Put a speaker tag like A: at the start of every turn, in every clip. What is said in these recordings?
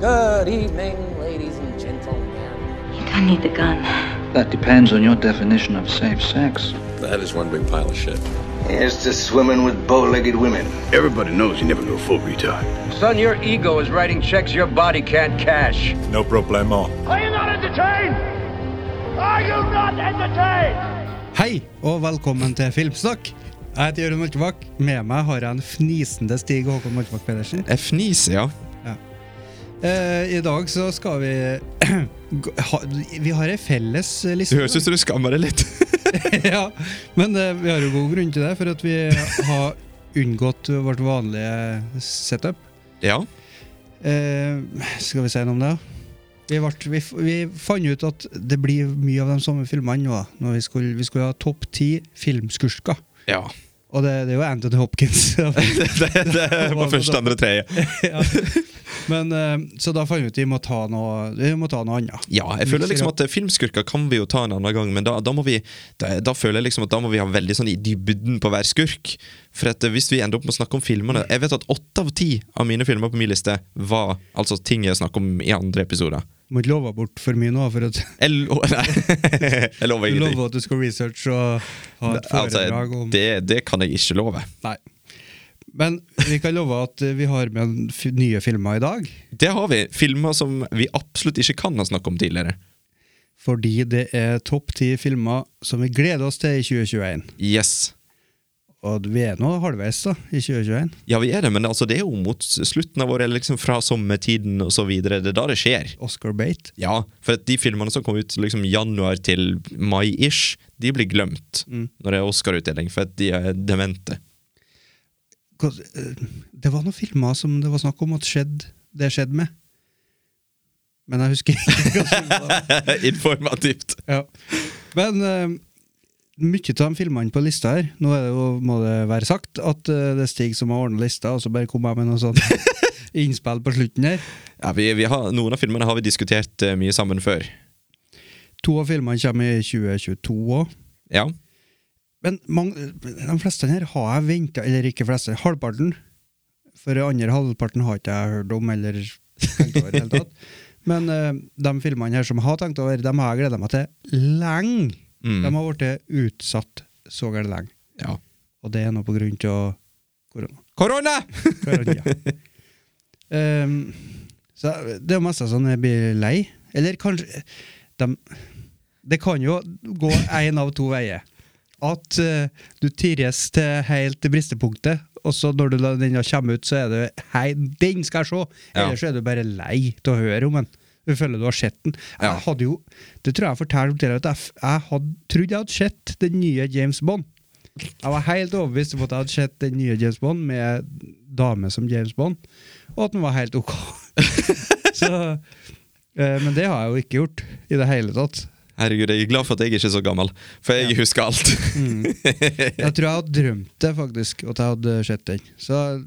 A: Good evening, ladies and gentlemen.
B: You don't need the gun.
C: That depends on your definition of safe sex.
D: That is one big pile of shit.
E: Here's to swimming with bow-legged women.
F: Everybody knows you never go full retard.
G: Son, your ego is writing checks your body can't cash.
H: No problemo.
I: Are you not entertained? Are you not entertained?
J: Hei, og velkommen til Filmsnakk. Jeg heter Jørund Moltebakk. Med meg har jeg en fnisende Stig Håkon Moltebakk Pedersen.
K: Jeg fniser, ja.
J: Eh, I dag så skal vi gå- ha, Vi har ei felles
K: Du
J: liste.
K: høres ut som du skammer deg litt.
J: ja, men eh, vi har jo god grunn til det, for at vi har unngått vårt vanlige setup.
K: ja.
J: Eh, skal vi si noe om det? Vi, vart- vi, f- vi fant ut at det blir mye av de samme filmene nå. da. Når vi, skulle, vi skulle ha topp ti filmskurker.
K: ja.
J: Og det, det er jo Anthony Hopkins.
K: Det, det, det var første, andre, tredje.
J: ja. Men, eh, så da fant vi ut vi må ta noe, vi må ta noe annet.
K: Ja, jeg føler liksom at eh, Filmskurker kan vi jo ta en annen gang, men da, da må vi da, da føler jeg liksom at da må vi ha veldig sånn i dybden på hver skurk. For at eh, hvis vi ender opp med å snakke om filmene Jeg vet at åtte av ti av mine filmer på min liste var altså ting jeg snakker om i andre episoder.
J: Må ikke love bort for mye nå, for at
K: Jeg, lo nei, jeg lover
J: du
K: ingenting.
J: lover at du skal researche og ha et
K: Altså,
J: foredrag om
K: det, det kan jeg ikke love.
J: Nei. Men vi kan love at eh, vi har med en f nye filmer i dag.
K: Det har vi. Filmer som vi absolutt ikke kan ha snakket om tidligere.
J: Fordi det er topp ti filmer som vi gleder oss til i 2021.
K: Yes.
J: Og vi er nå halvveis da, i 2021.
K: Ja, vi er det, men altså, det er jo mot slutten av året, eller liksom fra sommertiden og så videre. Det er da det skjer.
J: Oscar Bate.
K: Ja, for at de filmene som kom ut liksom januar til mai-ish, de blir glemt når det er Oscar-utdeling, for at de er demente.
J: Hva- eh, Det var noen filmer som det var snakk om at skjedde, det skjedde med. Men jeg husker ikke. hva som var.
K: Informativt.
J: ja. Men eh, mye av de filmene på lista her Nå er det jo, må det være sagt at eh, det er Stig som har ordna lista, og så bare kom jeg med noe sånt innspill på slutten her.
K: Ja, vi, vi har, noen av filmene har vi diskutert eh, mye sammen før.
J: To av filmene kommer i 2022 òg.
K: Ja.
J: Men mange, de fleste her har jeg venta, eller ikke fleste, halvparten. For den andre halvparten har ikke jeg hørt om eller tenkt over i det hele tatt. Men eh, de filmene her som jeg har tenkt over, dem har jeg gleda meg til lenge.
K: Mm.
J: De har blitt utsatt så galt lenge.
K: ja.
J: Og det er nå på grunn av korona.
K: Korona!
J: Korona. Ehm, så det er jo mest sånn jeg blir lei. Eller kanskje de, Det kan jo gå én av to veier. At eh, du tirres til helt til bristepunktet, og så når du la- den da kommer ut, så er det Hei, den skal jeg se!
K: Ja.
J: Eller så er du bare lei til å høre om den. Du føler du har sett den.
K: Ja.
J: Jeg hadde jo, Det tror jeg jeg fortalte til deg, at jeg, f- jeg hadde, trodde jeg hadde sett den nye James Bond. Jeg var helt overbevist om at jeg hadde sett den nye James Bond med dame som James Bond, og at den var helt ok. så, eh, men det har jeg jo ikke gjort i det hele tatt.
K: Herregud, jeg er glad for at jeg ikke er så gammel, for jeg husker alt.
J: Jeg tror jeg hadde drømt det, faktisk, at jeg hadde sett den. Så jeg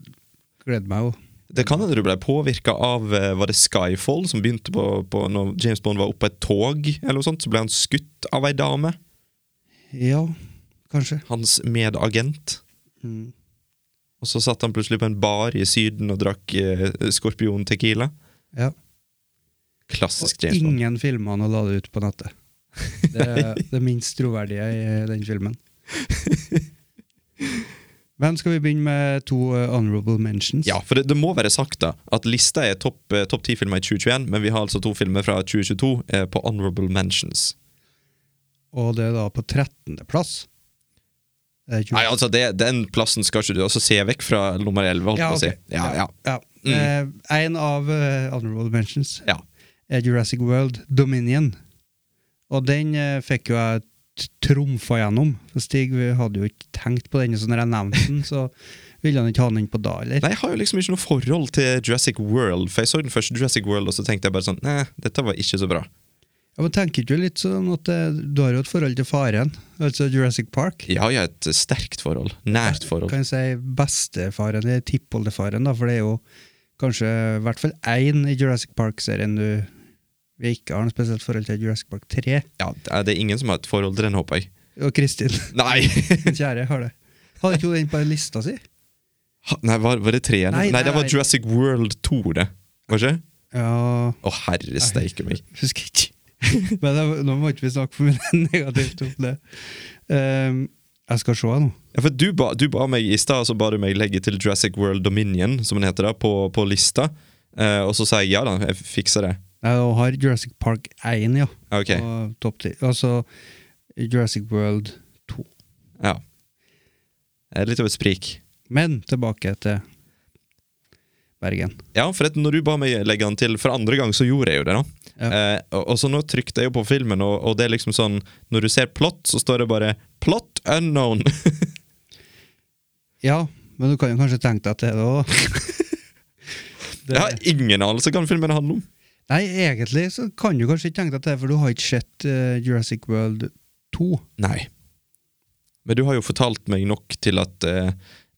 J: gleder meg jo.
K: Det kan hende du ble påvirka av eh, Var det Skyfall som begynte på, på når James Bond var oppe på et tog, eller noe sånt, så ble han skutt av ei dame.
J: Ja, kanskje.
K: Hans medagent.
J: Mm.
K: Og så satt han plutselig på en bar i Syden og drakk eh, Skorpion Tequila.
J: Ja.
K: Klassisk
J: Og
K: James Bond.
J: ingen filmer han og la det ut på nettet. Det er det minst troverdige i den filmen. Men skal vi begynne med to eh, honorable mentions?
K: Ja, for det, det må være sagt da at lista er topp eh, topp ti filmer i 2021, men vi har altså to filmer fra 2022 eh, på Honorable Mentions.
J: Og det er da på 13. plass. Det er 20.
K: Nei, altså, det, Den plassen skal ikke du altså se vekk fra nummer 11, holdt jeg
J: Ja,
K: på å si.
J: ok.
K: Ja, ja.
J: Ja.
K: Mm.
J: Eh, en av eh, honorable mentions
K: Ja.
J: er eh, Jurassic World Dominion. Og den eh, fikk jo jeg t- trumfa gjennom. For Stig vi hadde jo ikke tenkt på den, så når jeg nevnte den, så ville han ikke ha den på da heller.
K: Nei, Jeg har jo liksom ikke noe forhold til Jurassic World. For Jeg så den første Jurassic World, og så tenkte jeg bare sånn Nei, dette var ikke så bra.
J: Ja, men tenker du litt sånn at eh, du har jo et forhold til faren, altså Jurassic Park?
K: Jeg har jo et sterkt forhold. Nært forhold.
J: Kan jeg si bestefaren, eller tippoldefaren, da, for det er jo kanskje i hvert fall én i Jurassic Park-serien du vi ikke har noe spesielt forhold til Jurassic Park 3.
K: Ja, Det er ingen som har et forhold til den, håper jeg.
J: Og Kristin,
K: Nei!
J: min kjære, har det. Hadde ikke hun den på lista si?
K: Ha- Nei, Var, var det treeren?
J: Nei,
K: Nei,
J: nei,
K: det var
J: nei.
K: Jurassic World 2, det. Var ikke?
J: Ja
K: Å, herre steike meg.
J: Husker ikke. Men det, nå må ikke vi snakke for mye negativt om det. Ehm, jeg skal se nå.
K: Ja, for du ba, du ba meg i stad så ba du meg legge til Jurassic World Dominion, som den heter, da, på, på lista. Eh, og så sa jeg ja da, jeg fikser det.
J: Jeg har Jurassic Park 1, ja.
K: Ok,
J: På topp ti. Altså Jurassic World 2.
K: ja. Det er Litt av et sprik.
J: Men tilbake til Bergen.
K: Ja, for at når du ba meg legge den til for andre gang, så gjorde jeg jo det. da.
J: Ja.
K: Eh, og, og så nå trykte jeg jo på filmen, og, og det er liksom sånn Når du ser plot, så står det bare 'plot unknown'.
J: Ja, men du kan jo kanskje tenke deg til det òg.
K: Jeg har ingen anelse hva den filmen handler om.
J: Nei, egentlig så kan du kanskje ikke tenke deg til det, for du har ikke sett eh, Jurassic World 2.
K: Nei. Men du har jo fortalt meg nok til at eh,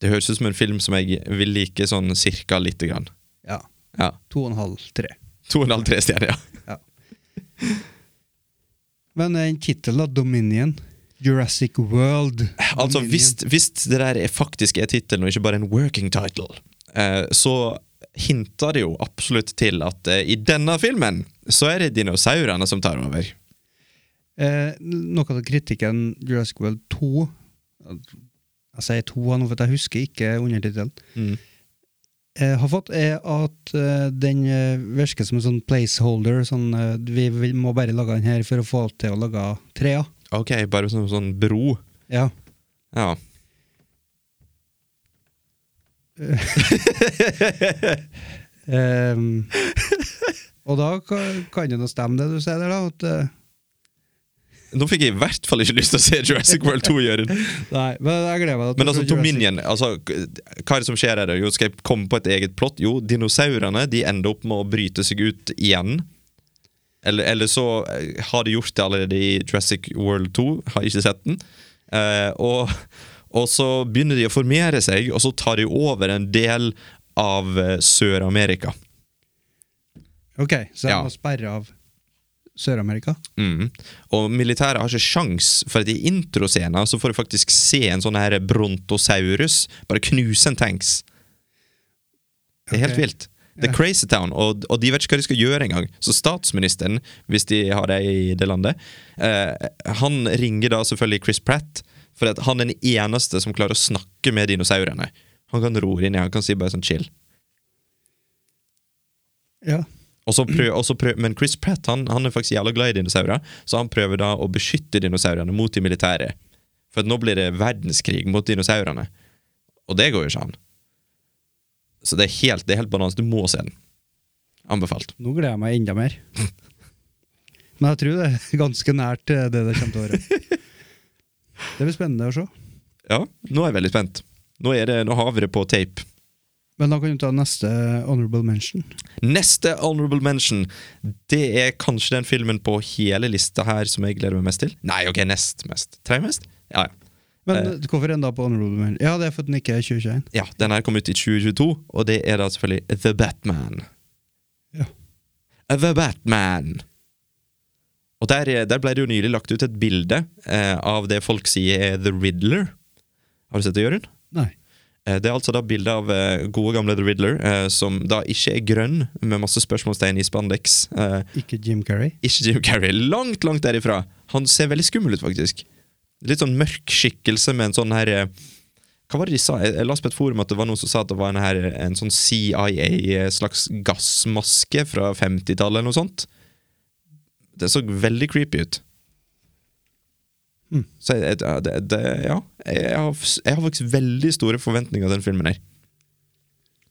K: det høres ut som en film som jeg vil like sånn cirka lite grann.
J: Ja.
K: Ja.
J: 2,5-3.
K: To og en halv, tre stjerner, ja.
J: Men eh, en tittel, da. Dominion. Jurassic World.
K: Altså,
J: Dominion.
K: hvis, hvis det der er faktisk er tittelen, og ikke bare en working title, eh, så hinter det jo absolutt til at eh, i denne filmen så er det dinosaurene som tar over.
J: Eh, noe av kritikken Jurassic World 2 Jeg sier 2 nå, for jeg husker ikke undertittelen.
K: Mm.
J: Eh, har fått, er at eh, den eh, virker som en sånn placeholder. Sånn, eh, vi, vil- må bare lage den her for å få til å lage trea.
K: Ok, bare sånn, sånn bro.
J: Ja.
K: Ja.
J: Ehm, og da kan, kan det nå stemme, det du sier der, da. At, eh,
K: Nå fikk jeg i hvert fall ikke lyst til å se Jurassic World 2, Jørund.
J: nei, men jeg gleder meg til
K: Men altså,
J: Jurassic-
K: Dominion altså, Hva er det som skjer her? da? Jo, skal jeg komme på et eget plott? Jo, dinosaurene de ender opp med å bryte seg ut igjen. Eller, eller så eh, har de gjort det allerede i Jurassic World 2. Har ikke sett den. Eh, og, og så begynner de å formere seg, og så tar de over en del av eh, Sør-Amerika.
J: Ok, så jeg
K: Ja.
J: må sperre av Sør-Amerika?
K: Mm. Og militæret har ikke sjans, for at i introscena så får du faktisk se en sånn her brontosaurus bare knuse en tanks. Det er helt
J: Ok.
K: vilt. Det er crazy town, og, og de vet ikke hva de skal gjøre engang. Så statsministeren, hvis de har det i det landet, eh, han ringer da selvfølgelig Chris Pratt, for at han er den eneste som klarer å snakke med dinosaurene. Han kan ro det inn i, han kan si bare sånn chill.
J: Ja.
K: Og så prøv, og så prøv, men Chris Pratt han, han er faktisk jævla glad i dinosaurer, så han prøver da å beskytte dinosaurene mot de militære. For at nå blir det verdenskrig mot dinosaurene. Og det går jo ikke an. Så det er helt, det er helt balanse. Du må se den. Anbefalt.
J: Nå gleder jeg meg enda mer. Men jeg tror det er ganske nært eh, det det kommer til å være. Det blir spennende å se.
K: Ja, nå er jeg veldig spent. Nå, er det, nå har vi det på tape.
J: Men da kan du ta neste honorable mention.
K: Neste honorable mention Det er kanskje den filmen på hele lista her som jeg gleder meg mest til. Nei, ok, nest mest. Tredje mest? Ja, ja.
J: Men hvorfor enda på honorable mention? Ja, det er for at den ikke er 2021.
K: Ja, den her kom ut i 2022, og det er da selvfølgelig The Batman.
J: Ja.
K: The Batman! Og der, er- der ble det jo nylig lagt ut et bilde eh, av det folk sier er The Riddler. Har du sett det, Jørund?
J: Nei.
K: Eh, Det er altså da bilde av eh, gode gamle The Riddler, eh, som da ikke er grønn, med masse spørsmålstegn i spandex. Eh,
J: Ikke Jim Carrey.
K: ikke Jim Carrey. Langt, langt derifra. Han ser veldig skummel ut, faktisk. Litt sånn mørk skikkelse med en sånn her eh, Hva var det de sa? Jeg, jeg las på et forum at det var noen som sa at det var en, her, en sånn CIA-slags eh, gassmaske fra 50-tallet eller noe sånt. Det så veldig creepy ut.
J: Mm.
K: Så jeg, jeg- det, det, ja jeg har, jeg har faktisk veldig store forventninger til den filmen her.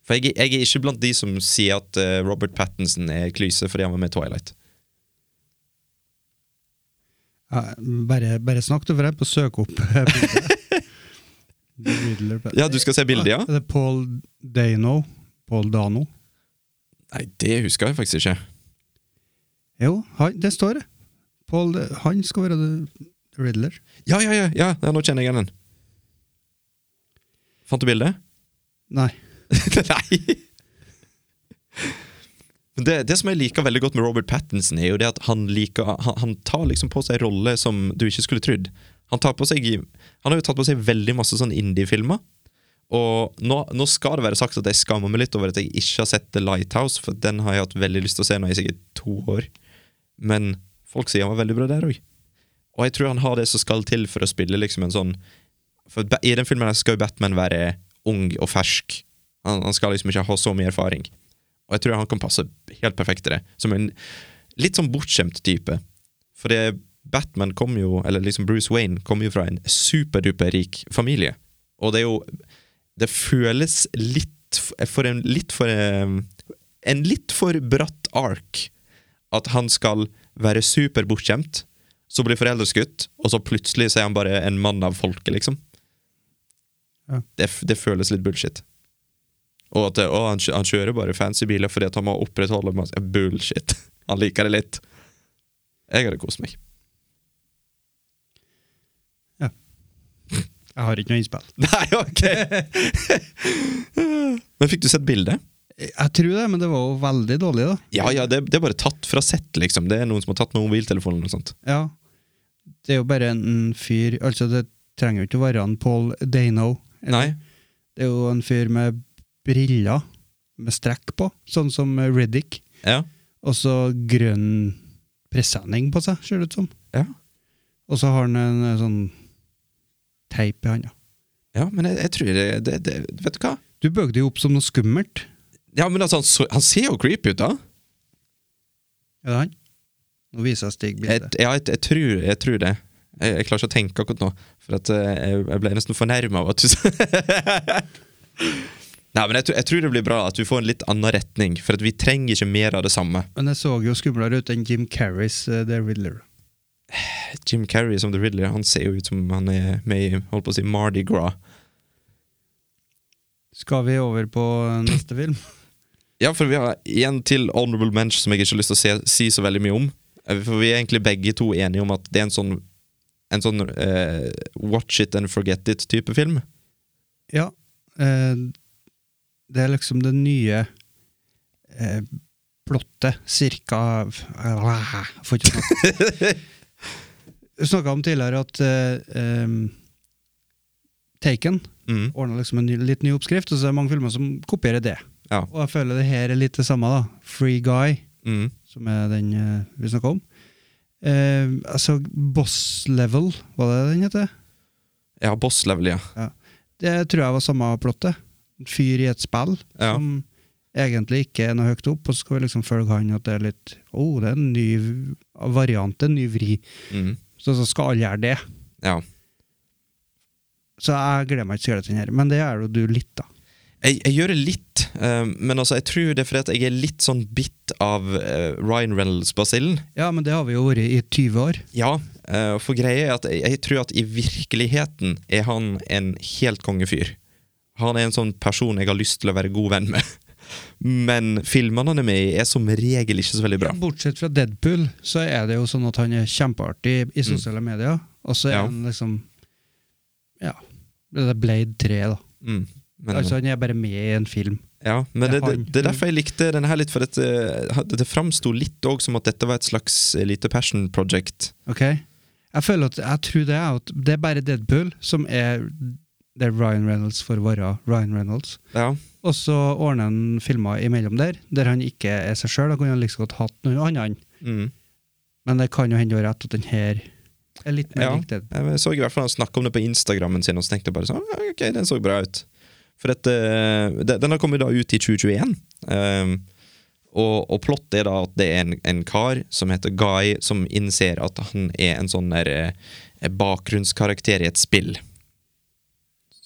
K: For jeg, jeg er ikke blant de som sier at eh, Robert Pattinson er klyse fordi han var med i Twilight.
J: Ja, bare, bare snakk du for deg på søk opp eh, bildet. The Riddler på-
K: Ja, du skal se bildet, ja?
J: Er Ah, det Paul Dano? Paul Dano?
K: Nei, det husker jeg faktisk ikke.
J: Jo, han, det står det. Paul, han skal være The Riddler.
K: Ja, ja, ja, ja, ja nå kjenner jeg igjen den. Fant du bildet?
J: Nei.
K: Nei! Men Det, det som jeg liker veldig godt med Robert Pattinson, er jo det at han, liker, han, han tar liksom på seg rolle som du ikke skulle trodd. Han, tar på seg, han har jo tatt på seg veldig masse sånn indie-filmer, Og nå, nå skal det være sagt at jeg skammer meg litt over at jeg ikke har sett The Lighthouse, for den har jeg hatt veldig lyst til å se nå i sikkert to år. Men folk sier han var veldig bra der òg. Og jeg tror han har det som skal til for å spille liksom en sånn For Ba- i den filmen her skal jo Batman være ung og fersk. Han, han skal liksom ikke ha så mye erfaring. Og jeg tror han kan passe helt perfekt til det. Som en litt sånn bortskjemt type. For det, Batman kom jo, eller liksom Bruce Wayne kom jo fra en superduper rik familie. Og det er jo Det føles litt f- for en litt for eh, En litt for bratt ark. At han skal være superbortskjemt, så blir foreldre skutt, og så plutselig så er han bare en mann av folket, liksom.
J: Ja.
K: Det, f- det føles litt bullshit. Og at å, han, kjø- han kjører bare fancy biler fordi at han må opprettholde masse Bullshit. Han liker det litt. Jeg hadde kost meg.
J: Jeg har ikke noe innspill.
K: Nei, ok! Men fikk du sett bildet?
J: Jeg tror det, men det var jo veldig dårlig, da.
K: Ja, ja, det, det er bare tatt fra sett, liksom. Det er noen som har tatt med mobiltelefonen og sånt.
J: Ja. Det er jo bare en fyr Altså, det trenger jo ikke å være han Paul Dano.
K: Nei.
J: Det er jo en fyr med briller med strekk på, sånn som Riddick.
K: Ja.
J: Og så grønn presenning på seg, ser det ut som.
K: Ja.
J: Og så har han en eh, sånn teip i handa.
K: ja, men jeg, jeg tror det, det, det Vet du hva?
J: Du bøgde jo opp som noe skummelt.
K: Ja, men altså, han, så, han ser jo creepy ut, da.
J: Er det han? Nå viser jeg Stig
K: Jeg,
J: bildet.
K: ja, jeg, jeg, tror, jeg tror det. Jeg, jeg klarer ikke å tenke akkurat nå, for at eh, jeg, jeg ble nesten fornærma av at du sa Nei, men jeg, tror- jeg tror det blir bra at vi får en litt annen retning, for at vi trenger ikke mer av det samme.
J: Men jeg så jo skumlere ut enn Jim Carreys eh, The Riddler.
K: Jim Carrey som The Riddler, han ser jo ut som han er med i holdt på å si, Mardi Gras.
J: Skal vi over på eh, neste film?
K: Ja, for vi har en til honorable mensch som jeg ikke har lyst til å se, si så veldig mye om. Eh, For vi er egentlig begge to enige om at det er en sånn, en sånn eh, watch it and forget it-type film.
J: Ja. Eh, det er liksom det nye eh, plottet, cirka uh, Får ikke snakket. Vi snakka om tidligere at eh, em, Taken
K: Mm.
J: ordna liksom en ny, litt ny oppskrift, og så er det mange filmer som kopierer det.
K: Ja.
J: Og jeg føler det her er litt det samme. da. Free Guy,
K: Mm.
J: som er den eh, vi snakka om. Eh, altså Boss Level, var det den heter?
K: Ja, boss level, ja.
J: Det tror jeg var samme plottet. En fyr i et spill
K: Ja.
J: som egentlig ikke er noe høyt opp, og så skal vi liksom følge han at det er litt oh, det er en ny v- variant, en ny vri.
K: Mm.
J: Så, så skal alle gjøre det.
K: ja.
J: Så jeg gleder meg ikke til å gjøre den her, men det er jo du litt, da.
K: Jeg, jeg gjør det litt, eh, men altså, jeg tror det er fordi at jeg er litt sånn bitt av eh, Ryan Reynolds-basillen.
J: Ja, men det har vi jo vært i 20 år.
K: Ja, eh, for greia er at jeg, jeg tror at i virkeligheten er han en helt kongefyr. Han er en sånn person jeg har lyst til å være god venn med. Men filmene han er med i, er som regel ikke så veldig bra.
J: Bortsett fra Deadpool, så er det jo sånn at han er kjempeartig i sosiale medier, og så er
K: Mm. Ja.
J: han liksom Ja. Det er Blade 3, da.
K: Mm. Men,
J: altså, han er bare med i en film.
K: ja, men det,
J: det er
K: det,
J: han.
K: det er derfor jeg likte denne her litt, for at eh, det framsto litt òg som at dette var et slags eh, lite passion project.
J: Ok? Jeg føler at, jeg tror det er at det er bare Deadpool som er det er Ryan Reynolds for å være Ryan Reynolds.
K: Ja.
J: Og så ordner han filmer imellom der, der han ikke er seg sjøl. Da kunne han like så godt hatt noen annen.
K: Mm.
J: Men det kan jo hende også rett at den her er litt mer
K: Ja.
J: lik det.
K: Jeg så i hvert fall han snakket om det på Instagrammen sin, og så tenkte jeg bare sånn «Ah, Ok, den så bra ut. For at eh, de- Den har kommet da ut i 2021. eh, og, og plott er da at det er en, en kar som heter Guy, som innser at han er en sånn der eh, bakgrunnskarakter i et spill.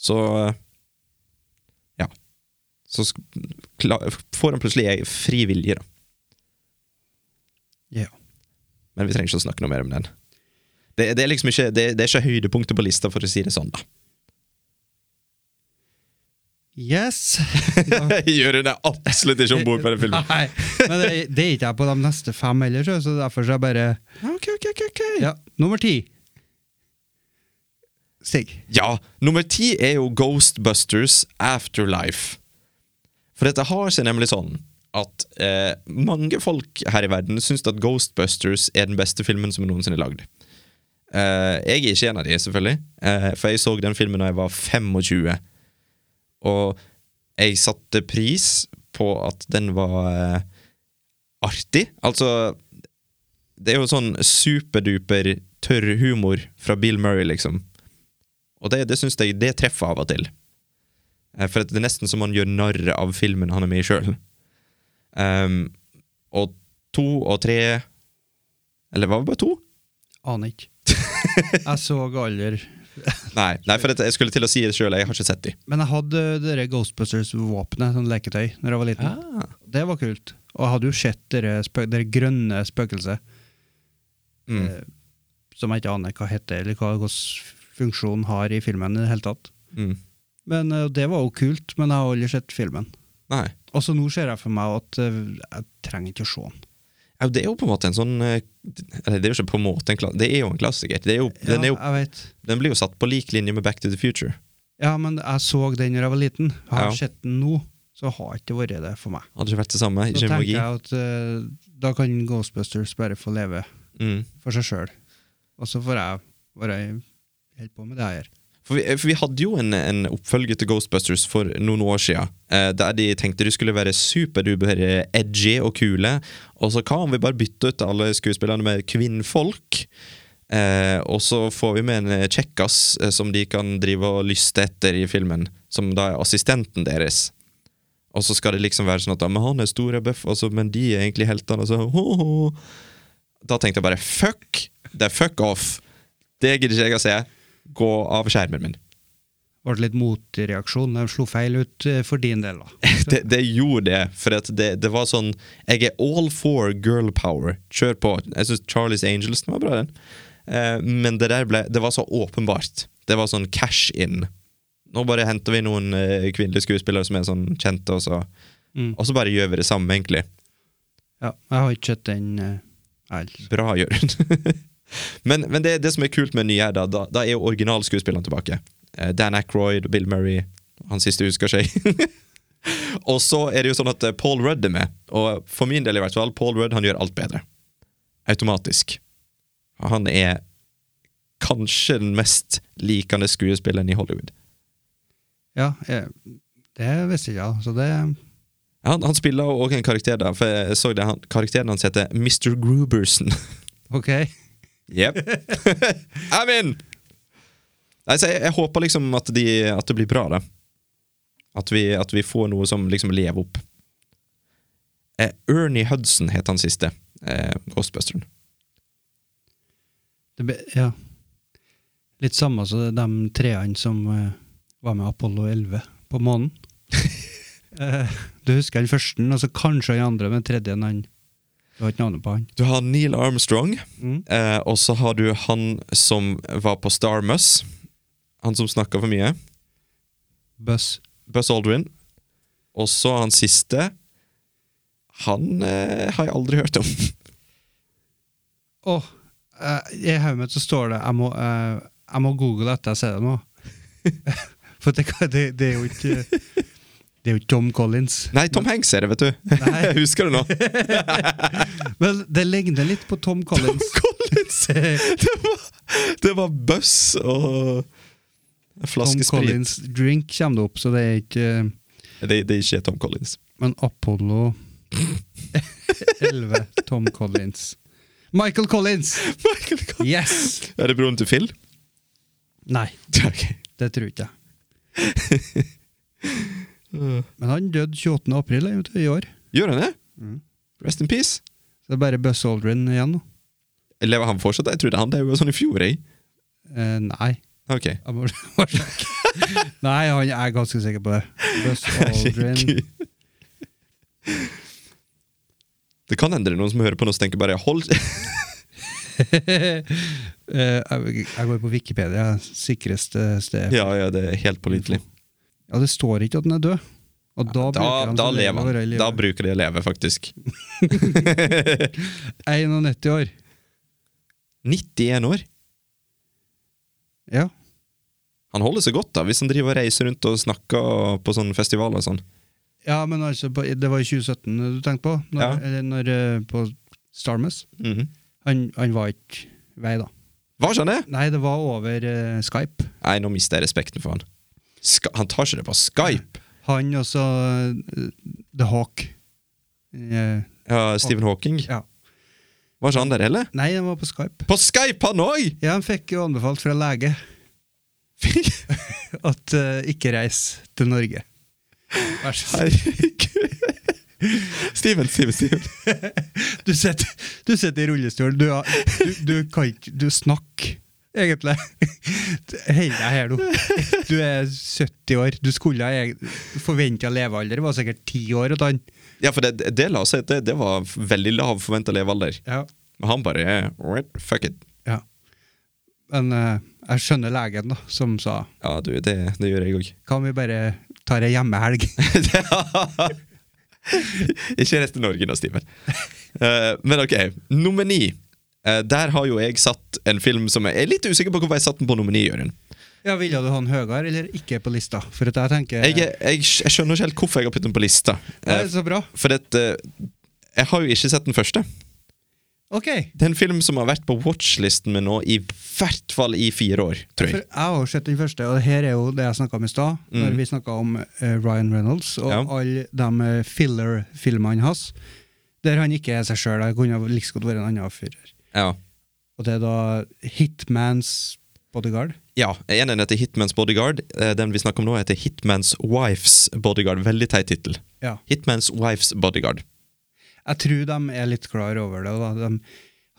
K: Så eh, Ja. Så sk- kla- får han plutselig ei fri vilje, da.
J: Ja.
K: Men vi trenger ikke å snakke noe mer om den. Det, det er liksom ikke, det, det er ikke høydepunktet på lista, for å si det sånn, da.
J: Yes!
K: Gjør hun det absolutt ikke om bord på den filmen?
J: Nei, men det, det er ikke jeg på de neste fem heller, så- så derfor så er jeg bare
K: Ok, ok, ok, ok. Ja.
J: Ja, nummer ti. Stig.
K: nummer ti er jo Ghostbusters Afterlife. For dette har seg nemlig sånn at eh, mange folk her i verden syns at Ghostbusters er den beste filmen som noensinne er lagd. Eh, jeg er ikke en av de, selvfølgelig, eh, for jeg så den filmen da jeg var 25. Og jeg satte pris på at den var eh, artig. Altså Det er jo sånn superduper tørr humor fra Bill Murray, liksom. Og det, det syns jeg det treffer av og til. Eh, For at det er nesten som han gjør narr av filmen han er med i sjøl. og to og tre Eller var det bare to?
J: Aner ikke. Jeg så aldri
K: Nei, nei for at jeg skulle til å si det sjøl. Jeg har ikke sett de.
J: Men jeg hadde det der Ghostbusters-våpenet, sånn leketøy, når jeg var liten. Det var kult. Og jeg hadde jo sett det der spø det der grønne spøkelset,
K: Mm.
J: eh, som jeg ikke aner hva heter, eller hva hvilken funksjon har i filmen i det hele tatt.
K: Mm.
J: Men eh, Det var jo kult, men jeg har aldri sett filmen.
K: Nei.
J: Og så nå ser jeg for meg at eh, jeg trenger ikke å se den.
K: Ja, det er jo på en måte en sånn eh, Eller det er jo ikke på en måte en klassiker, det er jo en klassiker. Det er jo, den, er jo,
J: Ja, jeg vet.
K: den blir jo satt på lik linje med Back to the Future.
J: Ja, men jeg så den når jeg var liten. Har jeg
K: Ja.
J: sett den nå, så har ikke det vært det for meg.
K: Hadde ikke vært det samme.
J: Så
K: Ikke
J: tenker
K: magi.
J: jeg at eh, da kan Ghostbusters bare få leve
K: Mm.
J: for seg sjøl. Og så får jeg bare holde på med det her.
K: For, vi, eh, for vi hadde jo en, en oppfølger til Ghostbusters for noen år siden, eh, der de tenkte de skulle være superduper eh, edgy og kule. Og så hva om vi bare bytter ut alle skuespillerne med kvinnfolk? Eh, og så får vi med en kjekkas eh, som de kan drive og lyste etter i filmen, som da er assistenten deres. Og så skal det liksom være sånn at men han er stor og bøff, altså, men de er egentlig heltene. Altså, ho, ho. Da tenkte jeg bare fuck! Det er fuck off! Det gidder ikke jeg å se. Gå av skjermen min.
J: Ble det litt motreaksjon. De slo feil ut eh, for din del, da.
K: Det, det gjorde det, for at det, det var sånn Jeg er all for girl power. Kjør på. Jeg syns Charlies Angels den var bra, den. Eh, men det der ble Det var så åpenbart. Det var sånn cash in. Nå bare henter vi noen eh, kvinnelige skuespillere som er sånn kjente, og så,
J: Mm.
K: og så bare gjør vi det samme, egentlig.
J: Ja, jeg har ikke sett den eh, heller.
K: Bra, Jørund. men men det, det som er kult med den nye, her, da, da, da er jo originalskuespillerne tilbake. Eh, Dan Ackroyd, Bill Murray, han siste husker seg. og så er det jo sånn at eh, Paul Rudd er med, og for min del i hvert fall, Paul Rudd han gjør alt bedre. Automatisk. Han er kanskje den mest likende skuespilleren i Hollywood.
J: Ja, eh, det visste ikke jeg, så det
K: Han, han spiller også en karakter der, for jeg så det, han, karakteren hans heter Mr. Gruberson.
J: Ok.
K: Yep. I'm in! Nei, så jeg, jeg håper liksom at, de, at det blir bra, da. At vi, at vi får noe som liksom lever opp. Eh, Ernie Hudson het han siste. Eh, Ghostbusteren.
J: Det be, ja. Litt samme som de treene som eh, var med Apollo 11 på månen. Eh, du husker den første, og så kanskje den andre, men den tredje han Du har ikke navnet på han.
K: Du har Neil Armstrong,
J: Mm.
K: eh, og så har du han som var på Star Muss. Han som snakka for mye.
J: Buss.
K: Buzz Aldrin. Og så han siste. Han eh, har jeg aldri hørt om.
J: Åh, eh, i hodet mitt så står det jeg må, eh, jeg må google etter jeg ser det nå. For det, kan- det, det er jo ikke Det er jo ikke Tom Collins.
K: Nei, Tom Hanks er det, vet du.
J: Nei.
K: Jeg husker det nå.
J: Men det ligner litt på Tom Collins.
K: Collins! Det var, det var buss og en
J: Tom
K: flaske sprit.
J: Collins drink kommer det opp, så det er ikke
K: Det, det er ikke Tom Collins.
J: Men Apollo 11, Tom Collins. Michael Collins!
K: Michael Collins.
J: Yes!
K: Er det broren til Phil?
J: Nei,
K: Ok.
J: det tror ikke jeg. Men han døde 28. april jeg vet, i år.
K: Gjør han det? Rest in peace.
J: Så det er bare Buzz Aldrin igjen nå.
K: Lever han fortsatt? Jeg trodde han døde sånn i fjor. Jeg.
J: Eh, nei.
K: Ok.
J: Jeg må må sjekke. Nei, han jeg er ganske sikker på det. Buzz Aldrin
K: Herregud. Det kan endre noen som hører på nå, som tenker bare hold
J: Eh, jeg, jeg går på Wikipedia, sikreste sted.
K: Ja, ja, det er helt pålitelig.
J: Ja, det står ikke at han er død. Og da,
K: Da,
J: bruker han til
K: da
J: å leve
K: lever
J: over hele
K: han. Da
J: livet.
K: bruker de å leve, faktisk.
J: 91 år.
K: 91 år.
J: Ja.
K: Han holder seg godt da, hvis han driver og reiser rundt og snakker på sånne festivaler og sånn.
J: ja, men altså, på, det var i 2017 du tenkte på? Når,
K: Ja.
J: eller når, eh, på Starmus.
K: Mhm.
J: Han, han var ikke vei, da.
K: Var ikke han det?
J: Nei, det var over eh, Skype.
K: Nei, nå mister jeg respekten for han. Ska han tar ikke det på Skype!
J: Han og så eh, The Hawk. Eh,
K: Ja, Stephen Hawking.
J: ja.
K: Var ikke han der heller?
J: Nei, den var på Skype.
K: På Skype, han òg!
J: Ja, han fikk jo anbefalt fra lege at eh, ikke reis til Norge. Vær så snill.
K: Herregud. Steven, Steven, Steven.
J: Du sitter, du sitter i rullestol. Du, har- du, du kan ikke Du snakker, egentlig. Hold deg her nå. Du er 70 år. Du skulle forventa levealder. Det var sikkert 10 år hos han.
K: Ja, for det, det la oss si at det, det var veldig lav forventa levealder.
J: Ja.
K: Men han bare eh, alright, Fuck it.
J: Ja. Men eh, jeg skjønner legen, da, som sa
K: Ja, du, det, det gjør jeg òg.
J: Hva om vi bare tar ei hjemmehelg?
K: Ikke resten av Norge nå, Steven. Eh, men ok, nummer ni. Eh, der har jo jeg satt en film som jeg er litt usikker på hvorfor jeg satte den på nummer ni. Jørgen.
J: Ja, Ville du ha den høyere eller ikke på lista? For at jeg tenker
K: Jeg, er- jeg, skj- jeg skjønner ikke helt hvorfor jeg har puttet den på lista.
J: Det
K: Eh,
J: er så bra.
K: for det, at, eh, jeg har jo ikke sett den første.
J: OK.
K: Det er en film som har vært på watchlisten min nå i hvert fall i fire år, tror
J: For
K: jeg.
J: jeg har jo sett den første, og her er jo det jeg snakka om i stad. Når vi snakka om eh, Ryan Reynolds og
K: Mm. Ja.
J: alle de eh, filler-filmene hans. Der han ikke er seg sjøl. Det kunne ha like så godt vært en annen fyr.
K: Ja.
J: Og det er da Hitmans Bodyguard.
K: Ja, En heter Hitmans Bodyguard. Eh, Den vi snakker om nå, heter Hitmans Wife's Bodyguard. Veldig teit tittel.
J: Ja.
K: Hitmans Wife's Bodyguard.
J: Jeg tror de er litt klar over det. Da. De,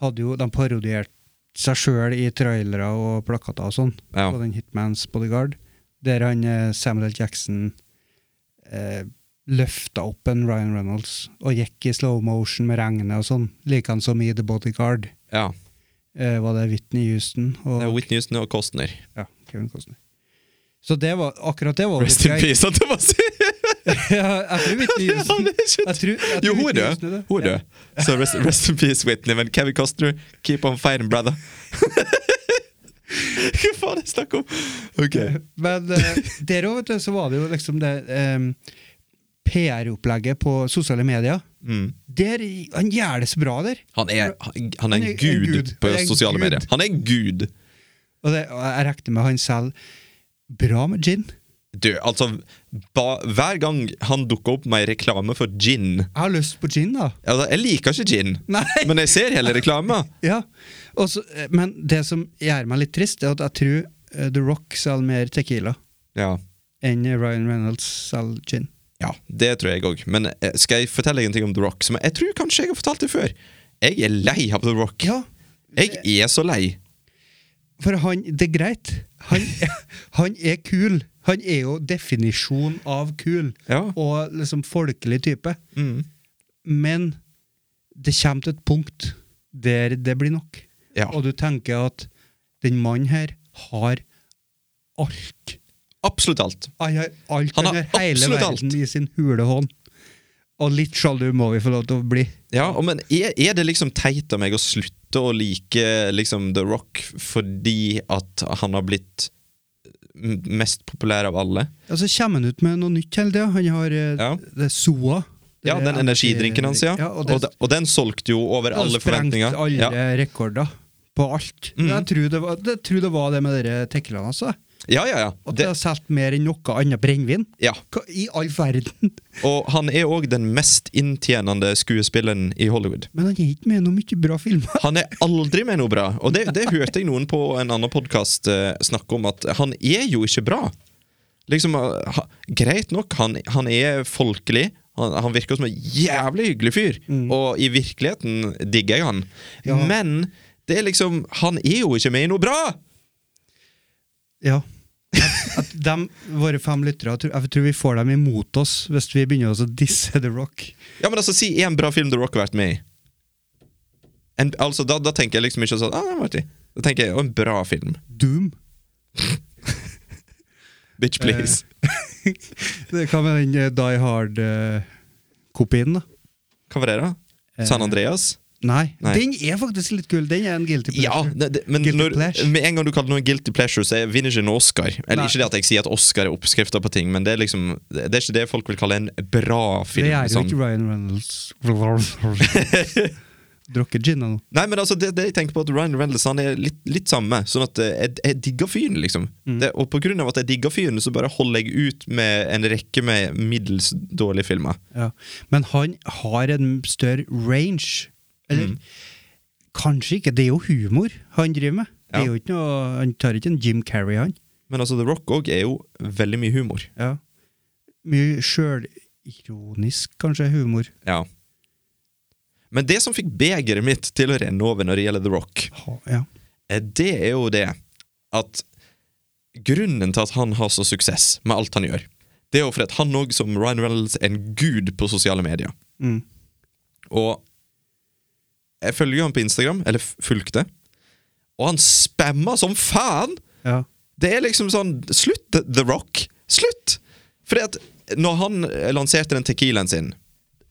J: hadde jo, de parodierte seg sjøl i trailere og plakater og sånn,
K: Ja.
J: på den Hitmans Bodyguard, der han eh, Samuel L. Jackson eh, løfta opp en Ryan Reynolds og gikk i slow motion med regnet og sånn, likeens som i The Bodyguard.
K: Ja.
J: Eh, var det Whitney Houston og
K: Det er Whitney Houston og Costner.
J: ja, Kevin Costner. Så det var, akkurat det var
K: Rest in peace, at det var si!
J: ja, jeg tror Whitney Houston
K: Han er ikke
J: jeg tror, jeg tror
K: Jo, hun er
J: Whitney Houston
K: død. Hun er død. Så rest, rest in peace, Whitney. Men Kevin Costner, keep on fighting, brother. Hva faen er det snakk om? Ok.
J: Men eh, der òg, vet du, så var det jo liksom det em, PR-opplegget på sosiale medier. Der, han gjør det så bra der.
K: Han er, han han
J: Han
K: er en gud på
J: Han er en
K: sosiale
J: gud.
K: medier. Han er en gud.
J: Og, det, og jeg rekte med han selv. Bra med gin.
K: Du, altså ba, Hver gang han dukker opp med ei reklame for gin
J: Jeg har lyst på gin, da.
K: Altså, Jeg liker ikke gin,
J: Nei.
K: men jeg ser hele reklama.
J: Ja. Og så- eh, men det som gjør meg litt trist, er at jeg tror eh, The Rock selger mer Tequila
K: Ja.
J: enn Ryan Reynolds selger gin.
K: ja, det tror jeg òg. Men eh, skal jeg fortelle deg en ting om The Rock? Som jeg, jeg tror kanskje jeg har fortalt det før. Jeg er lei av The Rock.
J: Ja,
K: Jeg er så lei.
J: For han, det er greit. Han, han er kul. Han er jo definisjon av kul,
K: Ja. Mm.
J: og liksom folkelig type. Men det kommer til et punkt der det blir nok.
K: Ja.
J: Og du tenker at den mannen her har alt.
K: Absolutt alt.
J: Han har alt.
K: Han
J: Han
K: har
J: har, hele
K: absolutt
J: verden
K: alt.
J: i sin hule hånd. Og litt sjalu må vi få lov til å bli.
K: Ja, og men er, er det liksom teit av meg å slutte å like liksom The Rock fordi at han har blitt eh, m- mest populær av alle?
J: Og så kommer han ut med noe nytt hele tida. Han har eh,
K: Ja.
J: det er Soa.
K: Ja,
J: Det er
K: den energidrinken hans, ja.
J: anti-
K: Og,
J: og det,
K: de- og den solgte jo over alle forventninger.
J: Sprengt alle
K: Ja.
J: rekorder på alt.
K: Mm.
J: Jeg, tror det var, det tror det var det med dere teklene, altså.
K: ja, ja, ja.
J: At det
K: Det,
J: har solgt mer enn noe annet brennevin.
K: ja.
J: Hva I all verden!
K: Og han er òg den mest inntjenende skuespilleren i Hollywood.
J: Men han er ikke med i noen mye bra filmer.
K: Han er aldri med noe bra, og det, det hørte jeg noen på en annen podkast snakke om, at han er jo ikke bra. Liksom, eh, ha, Greit nok, han, han er folkelig. Han, han virker som en jævlig hyggelig fyr, og i virkeligheten digger jeg han.
J: Ja.
K: Men det er liksom Han er jo ikke med i noe bra!
J: Ja. At, at dem, våre fem lyttere, jeg tror- jeg tror vi får dem imot oss hvis vi begynner å disse The Rock.
K: Ja, men altså, Si én bra film The Rock har vært med i. En, altså, da, da tenker jeg liksom ikke sånn ah, den var artig. Da tenker jeg «Å, en bra film.
J: Doom.
K: Bitch, please.
J: Det kan være den eh, Die Hard-kopien, da.
K: Hva var det, da? San Andreas?
J: Nei.
K: Nei.
J: Den er faktisk litt kul. Den er en guilty pleasure.
K: Ja, det, det, men
J: Guilty
K: når,
J: pleasure.
K: med en gang du kaller noe guilty pleasure, så er- vinner ikke en Oscar. Eller
J: Nei.
K: ikke det at jeg sier at Oscar er oppskrifta på ting, men det er liksom Det er ikke det folk vil kalle en bra film.
J: Det er jo
K: sånn.
J: ikke Ryan Reynolds. drukket gin nå.
K: Nei, men altså, det, det jeg tenker på at Ryan Reynolds han er litt, litt samme. Sånn at eh, jeg, jeg digger fyren, liksom.
J: Mm.
K: Det, og på grunn av at jeg digger fyren, så bare holder jeg ut med en rekke med middels dårlige filmer.
J: Ja. Men han har en større range.
K: Mm.
J: Eller kanskje ikke. Det er jo humor han driver med. Det
K: Ja.
J: er jo ikke noe, han tar ikke en Jim Carrey, han.
K: Men altså, The Rock òg er jo veldig mye humor.
J: Ja. Mye sjølironisk, kanskje, humor.
K: Ja. Men det som fikk begeret mitt til å renne over når det gjelder The Rock,
J: Ha, ja.
K: eh, det er jo det at grunnen til at han har så suksess med alt han gjør, det er jo fordi at han òg, som Ryan Reynolds, er en gud på sosiale medier.
J: Mm.
K: Og jeg følger jo han på Instagram, eller f- fulgte, og han spammer som faen!
J: ja.
K: Det er liksom sånn Slutt, The- The Rock! Slutt! Fordi at når han eh, lanserte den tequilaen sin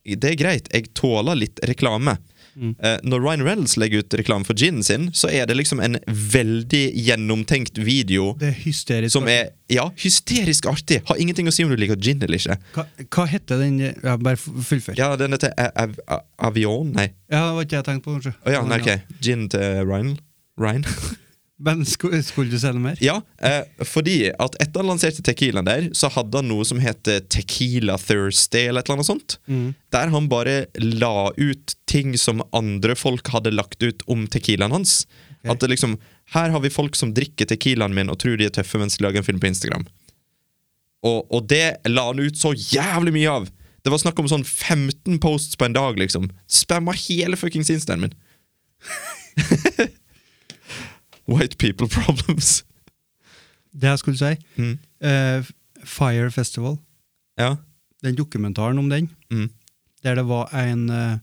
K: Det er greit, jeg tåler litt reklame.
J: Mm.
K: Eh, Når Ryan Reynolds legger ut reklame for ginen sin, så er det liksom en veldig gjennomtenkt video
J: Det er hysterisk.
K: som er ja, hysterisk artig. Har ingenting å si om du liker gin eller ikke.
J: hva, hva heter den ja, Bare f- fullfør. Ja.
K: Ja, den heter A- Av- A- Avion Nei.
J: det var ikke jeg tenkte på, kanskje.
K: Å ja, nei, ok. Gin til Ryan. Ryan.
J: Men sku- skulle du si noe mer?
K: ja, eh, fordi at etter han lanserte Tequilaen der, så hadde han noe som heter Tequila Thursday, eller et eller annet sånt. Der han bare la ut ting som andre folk hadde lagt ut om Tequilaen hans. At det liksom Her har vi folk som drikker Tequilaen min og tror de er tøffe mens de lager en film på Instagram. Og, og det la han ut så jævlig mye av! Det var snakk om sånn 15 posts på en dag, liksom. Spamma hele fuckings instaen min. White people problems.
J: Det jeg skulle si.
K: Mm.
J: eh, Fire Festival.
K: Ja.
J: Den dokumentaren om den,
K: Mm.
J: der det var en eh,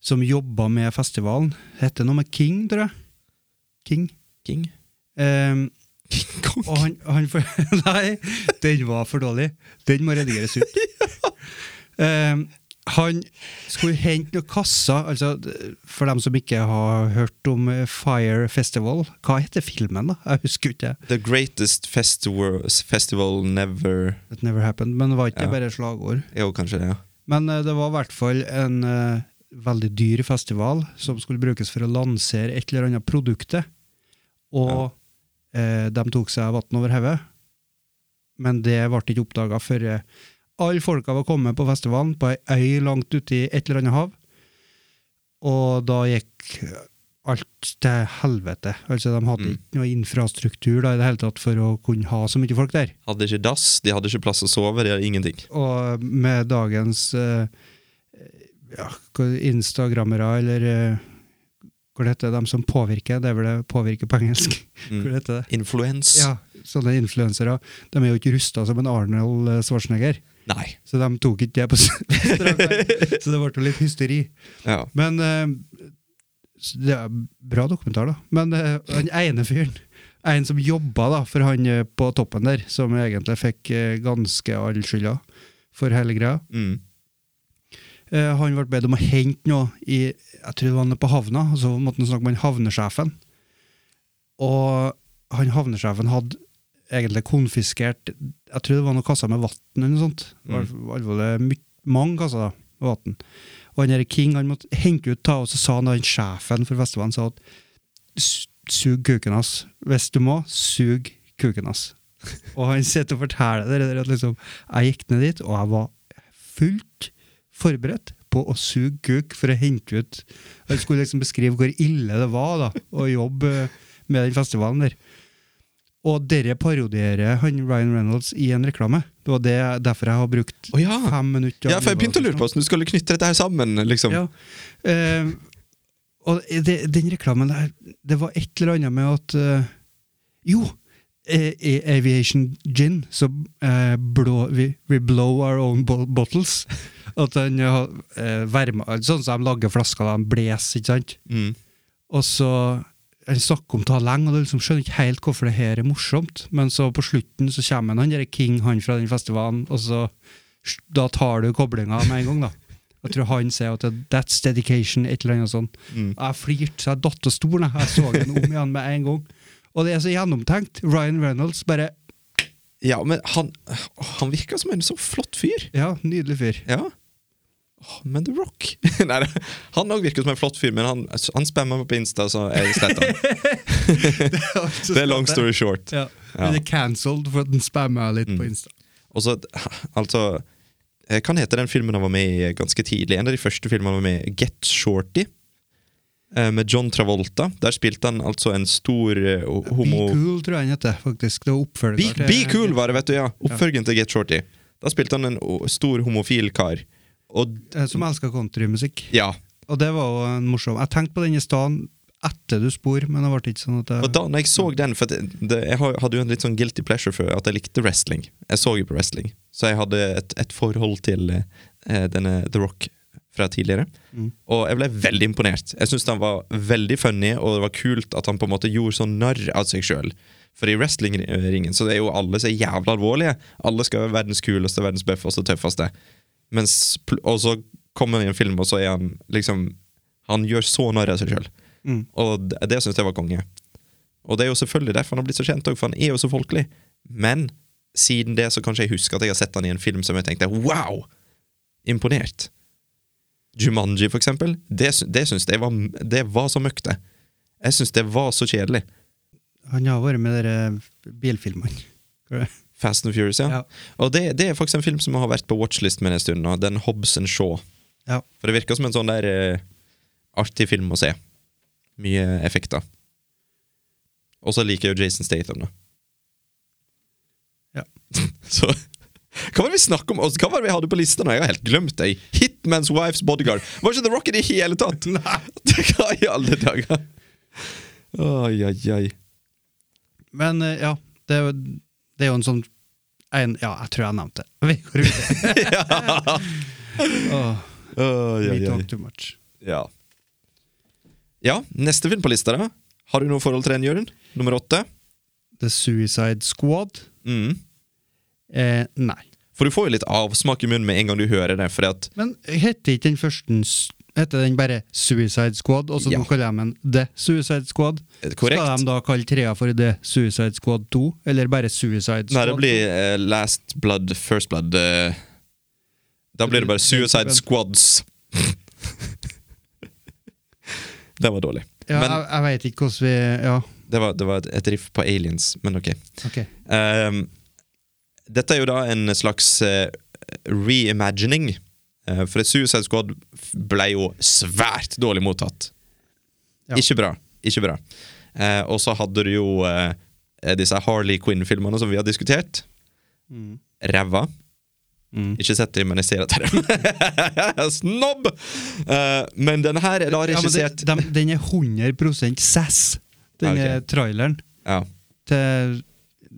J: som jobba med festivalen. Hette noe med King, tror jeg. King.
K: King.
J: Ehm,
K: King Kong.
J: og han, han for, Nei, den var for dårlig. Den må redigeres ut. Ehm, han skulle hente noen kasser, altså, d- for dem som ikke har hørt om eh, Fire Festival. Hva heter filmen, da? Jeg husker ikke.
K: The greatest festival, festival never
J: It never happened. Men det var ikke
K: Ja.
J: bare slagord.
K: Jo, kanskje det, ja.
J: Men eh, det var i hvert fall en eh, veldig dyr festival som skulle brukes for å lansere et eller annet produktet. Og eh, de tok seg vann over hodet. Men det ble ikke oppdaga før eh, alle folka var kommet på festivalen på ei øy langt ute i et eller annet hav. Og da gikk alt til helvete. Altså, de hadde ikke noe infrastruktur da, i det hele tatt for å kunne ha så mye folk der.
K: Hadde ikke dass, de hadde ikke plass å sove, de hadde ingenting.
J: Og med dagens eh, ja, hva- instagrammere, eller eh, hva det heter de som påvirker, det er vel det påvirker på engelsk, hva det heter det?
K: Influens?
J: Ja, sånne influensere, de er jo ikke rusta som en Arnold eh, Schwarzenegger,
K: Nei.
J: så de tok ikke det på s- strak arm. Så det ble jo litt hysteri.
K: Ja.
J: Men eh, s- det er bra dokumentar, da. Men eh, den ene fyren En som jobba da, for han eh, på toppen der, som egentlig fikk eh, ganske all skylda for hele greia.
K: Mm.
J: Eh, han ble bedt om å hente noe i Jeg tror det var nede på havna, og så måtte han snakke med han havnesjefen. Og han havnesjefen hadde egentlig konfiskert Jeg tror det var noen kasser med vann eller noe sånt. Det var alvorlig my- mange kasser da, med vann. Og han der King han måtte hente ut ta, og så sa han da, han sjefen for festivalen sa at "S- sug kuken hans. Hvis du må, sug kuken hans. og han sitter og forteller dere der at liksom, jeg gikk ned dit, og jeg var fullt forberedt på å suge kuk for å hente ut Han skulle liksom beskrive hvor ille det var da, å jobbe eh, med den festivalen der. Og dere parodierer han Ryan Reynolds i en reklame. Det var det, derfor jeg har brukt
K: Å ja.
J: fem minutter. av
K: ja, for jeg
J: livet
K: begynte å
J: hans
K: lure på hvordan du skulle knytte dette her sammen, liksom.
J: ja. Eh, og det, den reklamen der, det var et eller annet med at eh, Jo! eh, I Aviation Gin, så eh, blå, we, we blow our own bo bottles. At den har eh, varma Sånn som de lager flasker, de blåser, ikke sant?
K: Mm.
J: Og så han snakker om Taleng, og du liksom skjønner ikke helt hvorfor det her er morsomt. Men så på slutten så kommer han, han der King, han fra den festivalen, og så da tar du koblinga med en gang, da. Jeg tror han sier at det- 'that's dedication', et eller annet sånt.
K: Mm.
J: Jeg flirte så jeg datt av stolen. Jeg så den om igjen med en gang. Og det er så gjennomtenkt. Ryan Reynolds, bare
K: Ja, men han, han virker som en så flott fyr.
J: Ja, nydelig fyr.
K: Ja. «Åh, Men The Rock Nei, det- Han òg virker som en flott fyr, men han, han spammer meg på Insta, så jeg sletter han. Det er long story short.
J: Ja.
K: Ja. Mm.
J: Men det er cancelled for at den spamma litt på Insta.
K: Og så, altså eh, Kan hete den filmen han var med i eh, ganske tidlig. En av de første filmene han var med i. Get Shorty. eh, Med John Travolta. Der spilte han altså en stor eh, homo...
J: Be Cool, tror jeg han heter. faktisk. Det var oppfølger
K: Be,
J: til-
K: be Cool var det, vet du, ja. Oppfølgeren til Get Shorty. Da spilte han en o- stor homofil kar. Og
J: Eh, Som elsker countrymusikk.
K: ja.
J: Og det var jo en morsom Jeg tenkte på den i stedet etter du spor, men det ble ikke sånn at jeg
K: Og da når jeg så den For det, det, jeg har- hadde jo en litt sånn guilty pleasure for at jeg likte wrestling. Jeg så jo på wrestling, så jeg hadde et, et forhold til eh, denne The Rock fra tidligere. Og jeg ble veldig imponert. Jeg syns han var veldig funny, og det var kult at han på en måte gjorde sånn narr av seg sjøl. For i wrestlingringen så er jo alle så jævla alvorlige. Alle skal være verdens kuleste, verdens bøffeste, tøffeste. Mens, pl- og så kommer han i en film, og så er han liksom Han gjør så narr av seg sjøl. Og det, det syns jeg var konge. Og det er jo selvfølgelig derfor han har blitt så kjent, også, for han er jo så folkelig. Men siden det så kanskje jeg husker at jeg har sett han i en film som jeg tenkte wow! Imponert. Jumanji, for eksempel. Det, sy- det syns jeg var, det var så møkk, det. Jeg syns det var så kjedelig.
J: Han har vært med de eh, bilfilmene. Hva er det?
K: Fast and Furious, ja.
J: Ja.
K: Og det, det er faktisk en film som har vært på watchlist min en stund nå. Den Hobbs and Shaw.
J: Ja.
K: For det virker som en sånn der eh, artig film å se. Mye effekter. Og så liker jeg jo Jason Statham, da.
J: Ja.
K: Så hva var det vi snakket om? Altså, Hva var det vi hadde på lista nå? Jeg har helt glemt det. Hitman's Wife's Bodyguard. Var ikke The Rocket i hele tatt? hva i alle dager? Oi, oi, oi.
J: Men eh, ja, det, er jo- det er jo en sånn en, Ja, jeg tror jeg nevnte det. Vi går videre. Åh,
K: Oi,
J: we
K: oi, oi.
J: talk too much.
K: Ja. Ja, neste film på lista, da. Har du noe forhold til den, Jørund? Nummer åtte?
J: The Suicide Squad?
K: Mm.
J: Eh, nei.
K: For du får jo litt avsmak i munnen med en gang du hører det. Fordi at
J: Men heter ikke den første s- Heter den bare Suicide Squad, og så
K: Ja.
J: nå kaller de den The Suicide Squad?
K: Eh, korrekt.
J: Skal de da kalle trea for The Suicide Squad 2, eller bare Suicide Squad?
K: Nei, det blir eh, Last Blood, First Blood eh, Da blir det bare Suicide Squads. det var dårlig.
J: ja,
K: men
J: jeg, jeg veit ikke hvordan vi Ja,
K: det var, det var et- et riff på aliens, men ok.
J: ok.
K: Ehm, dette er jo da en slags eh, reimagining. eh, for Suicide Squad ble jo svært dårlig mottatt.
J: Ja.
K: Ikke bra. Ikke bra. Eh, og så hadde du jo eh, disse Harley Quinn-filmene som vi har diskutert.
J: Mm.
K: Ræva. Ikke sett dem, men jeg ser at det er ræva. Snobb! Eh, men denne her er da
J: Ja, men
K: regissert
J: det, dem- den er 100 sass, den
K: Ok.
J: er traileren.
K: ja.
J: til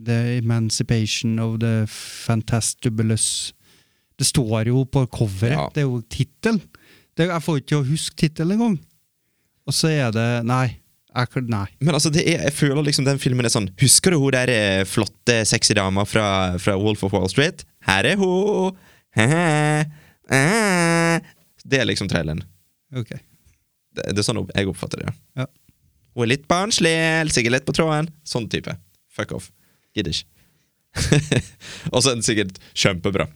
J: The Emancipation of the Fantastubulous. Det står jo på coveret.
K: Ja.
J: Det er jo tittelen. Det- Jeg får ikke til å huske tittelen engang. Og så er det Nei. Jeg, kan- nei.
K: Men altså, det er, jeg føler liksom den filmen er sånn Husker du hun der eh, flotte, sexy dama fra, fra Wolf of Wall Street? Her er hun! Hehe. Eh. Det er liksom traileren.
J: Ok.
K: Det, det er sånn opp- jeg oppfatter det.
J: Ja.
K: Hun er litt barnslig, sikkert lett på tråden. Sånn type. Fuck off. Gidder ikke. Og så er den sikkert kjempebra.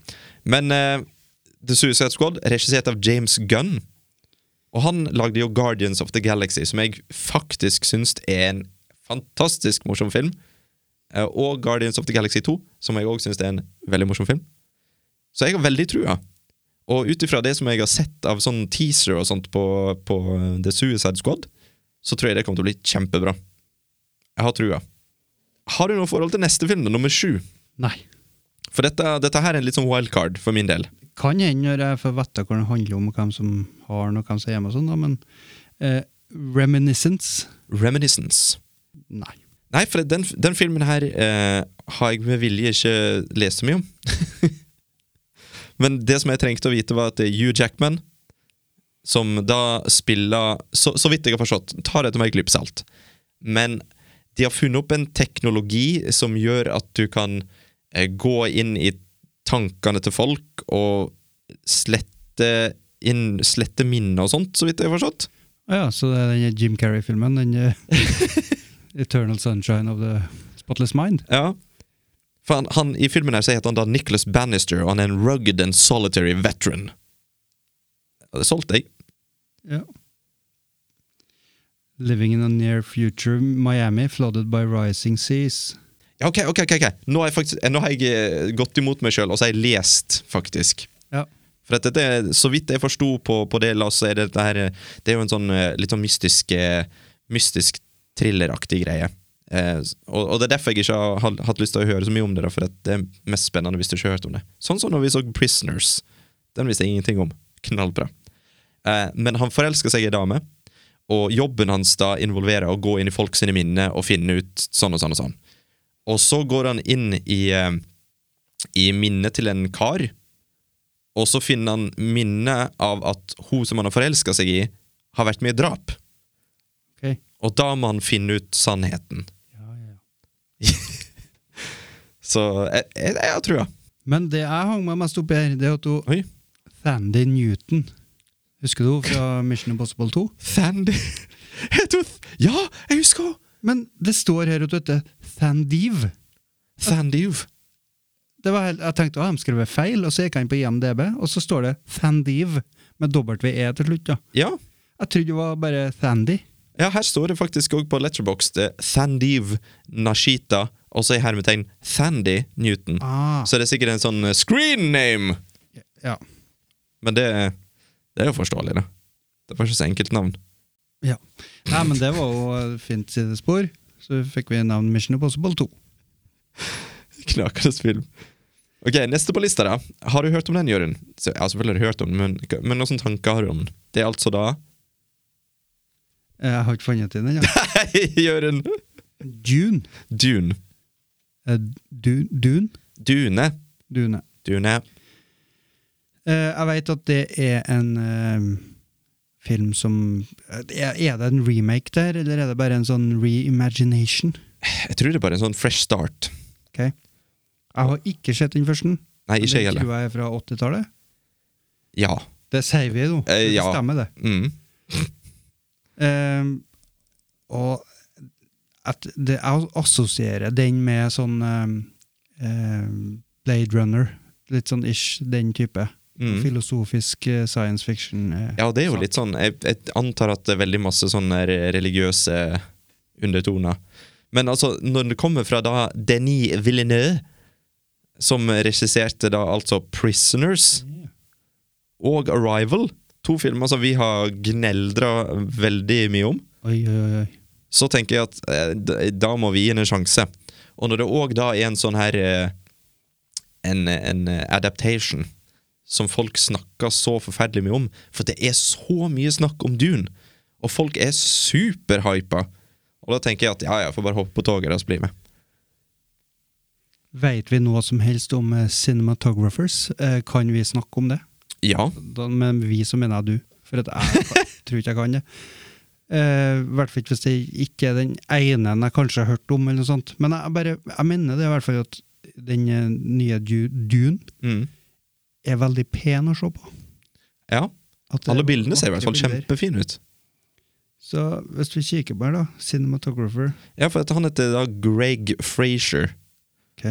K: Men eh, The Suicide Squad, regissert av James Gunn. Og han lagde jo Guardians of the Galaxy, som jeg faktisk syns er en fantastisk morsom film. Eh, Og Guardians of the Galaxy 2, som jeg òg syns er en veldig morsom film. Så jeg har veldig trua. Og ut ifra det som jeg har sett av sånn teaser og sånt på, på eh, The Suicide Squad, så tror jeg det kommer til å bli kjempebra. Jeg har trua. Har du noe forhold til neste film, da, nummer sju?
J: nei.
K: For dette, dette her er en litt sånn wildcard for min del.
J: Kan hende når jeg får vite hva det handler om, og hvem som har den, og hvem som er hjemme og sånn, da, men eh, Reminiscence?
K: Reminiscence.
J: Nei.
K: Nei, for den, den filmen her eh, har jeg med vilje ikke lest så mye om. Men det som jeg trengte å vite, var at det er Hugh Jackman, som da spiller Så, så vidt jeg har forstått, tar dette med en klype salt. Men de har funnet opp en teknologi som gjør at du kan eh, gå inn i tankene til folk og slette, inn, slette minner og sånt, så vidt jeg har forstått.
J: Å ja, så det er den Jim Carrey-filmen, den eh, Eternal Sunshine of the Spotless Mind?
K: Ja. For han, han, I filmen her så heter han da Nicholas Bannister, og han er en rugged and solitary veteran. hadde solgt, jeg.
J: Ja. Living in a near future, Miami flooded by rising seas.
K: Ja, ok, ok, ok, ok. Nå har jeg, faktisk, eh, nå har jeg eh, gått imot meg sjøl, og så har jeg lest, faktisk.
J: Ja.
K: For at dette, så vidt jeg forsto på, på det, Lars, så er det, dette her, eh, det er jo en sånn eh, litt sånn mystisk, eh, mystisk thrilleraktig greie. Eh, s- og, og det er derfor jeg ikke har, har hatt lyst til å høre så mye om det, da, for at det er mest spennende hvis du ikke har hørt om det. Sånn som når vi så Prisoners. Den visste jeg ingenting om. Knallbra. Eh, men han forelsker seg i ei dame, og jobben hans da involverer å gå inn i folk sine minner og finne ut sånn og sånn og sånn. Og så går han inn i, eh, i minnet til en kar, og så finner han minnet av at hun som han har forelska seg i, har vært med i drap.
J: Ok.
K: Og da må han finne ut sannheten. så jeg, jeg, jeg har trua.
J: Men det jeg hang meg mest opp i her, det er at hun
K: Oi.
J: Thandie Newton Husker du henne fra Mission Impossible 2?
K: Thandy Heter hun Th- Ja, jeg husker henne!
J: Men det står her ute etter Thandive.
K: Thandive.
J: Det var helt, jeg tenkte å, de skrev feil, og så gikk jeg inn på IMDb, og så står det Thandive med WE til slutt. ja.
K: Ja.
J: Jeg trodde det var bare Thandy.
K: ja, her står det faktisk òg på Letterboxd eh, Thandive Nashita, og så i hermetegn Thandy Newton.
J: Ah,
K: Så det er sikkert en sånn eh, screen name!
J: ja.
K: Men det, det er jo forståelig, det. Det var ikke så enkelt navn.
J: ja. Nei, men det var jo et fint sidespor. Så fikk vi navnet Mission Impossible 2.
K: Knakende film. Ok, Neste på lista, da. Har du hørt om den, Jørund? Så- Ja, selvfølgelig har du hørt om den, men, men hvilke tanker har du om den? Det er altså da
J: Eh, Jeg har ikke funnet til den ennå.
K: Hei, Jørund!
J: Dune.
K: Dune.
J: Eh, du, Dune?
K: Dune.
J: Dune.
K: Dune.
J: Eh, jeg vet at det er en eh, film som eh, er, er det en remake der, eller er det bare en sånn reimagination?
K: Jeg tror det er bare en sånn fresh start.
J: Ok. Jeg har ikke sett den første.
K: Nei, ikke jeg
J: Den
K: heller.
J: tror jeg er fra 80-tallet.
K: Ja.
J: Det sier vi nå.
K: Eh, ja.
J: Det stemmer, det.
K: Mm.
J: Ehm, og at det, jeg assosierer den med sånn ehm, ehm, Blade Runner. Litt sånn ish, den type.
K: Mm.
J: Filosofisk eh, science fiction. eh,
K: Ja, det er jo
J: sak.
K: litt sånn Jeg, jeg antar at det er veldig masse sånne re- religiøse undertoner. Men altså, når det kommer fra da Denis Villeneuve, som regisserte da altså Prisoners og Arrival, to filmer som vi har gneldra veldig mye om,
J: Oi, oi, oi, oi.
K: så tenker jeg at eh, d- da må vi gi den en sjanse. Og når det òg da er en sånn her eh, en, en eh, adaptation som folk snakker så forferdelig mye om, for det er så mye snakk om Dune, og folk er superhypa. Og da tenker jeg at ja, ja, jeg får bare hoppe på toget deres og bli med.
J: Veit vi noe som helst om eh, cinematographers? Eh, kan vi snakke om det?
K: Ja.
J: Da, men vi så mener jeg du, for at jeg kan- tror ikke jeg kan det. Eh, I hvert fall ikke hvis det ikke er den ene jeg kanskje har hørt om, eller noe sånt. Men jeg, bare, jeg mener det i hvert fall at den eh, nye Du- Dune
K: Mm.
J: er veldig pen å se på.
K: ja.
J: At det
K: Alle
J: er
K: bildene ser sånn i hvert
J: vakre
K: fall
J: bilder.
K: kjempefine ut.
J: Så hvis du kikker på her, da. Cinematographer.
K: Ja, for at han heter da Greg Frazier,
J: Ok.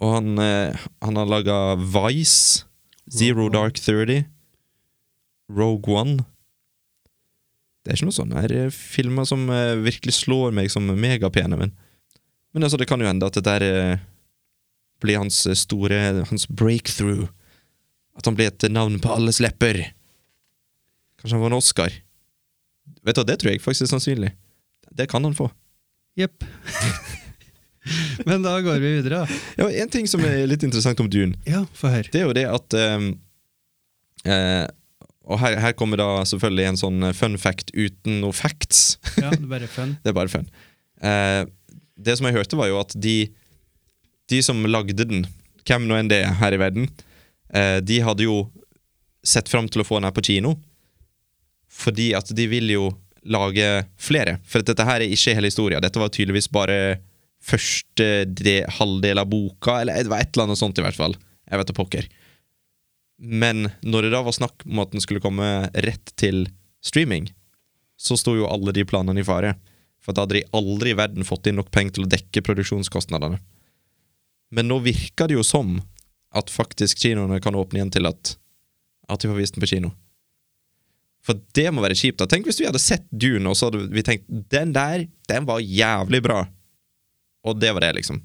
K: og han, eh, han har laga Vice, Zero
J: Rogue One.
K: Dark 30, Rogue One Det er ikke noen sånne her eh, filmer som eh, virkelig slår meg som megapene, men Men altså, det kan jo hende at dette her, eh, blir hans eh, store Hans breakthrough. At han blir et navn på alles lepper. Kanskje han får en Oscar. Vet du, hva, Det tror jeg faktisk er sannsynlig. Det kan han få.
J: Jepp. men da går vi videre, da.
K: Ja, En ting som er litt interessant om Dune,
J: Ja, få høre.
K: det er jo det at ehm, eh, Og her, her kommer da selvfølgelig en sånn fun fact uten noe facts.
J: Ja, det er bare fun.
K: Det er bare fun. Eh, det som jeg hørte, var jo at de, de som lagde den, hvem nå enn det er her i verden, eh, de hadde jo sett fram til å få den her på kino. Fordi at de vil jo lage flere. For at dette her er ikke hele historia. Dette var tydeligvis bare første de, halvdel av boka, eller det var et eller annet sånt i hvert fall. Jeg vet da pokker. Men når det da var snakk om at den skulle komme rett til streaming, så sto jo alle de planene i fare. For da hadde de aldri i verden fått inn nok penger til å dekke produksjonskostnadene. Men nå virker det jo som at faktisk kinoene kan åpne igjen til at, at de får vist den på kino. For det må være kjipt. da Tenk hvis vi hadde sett Dune, og så hadde vi tenkt den der, den var jævlig bra. Og det var det, liksom.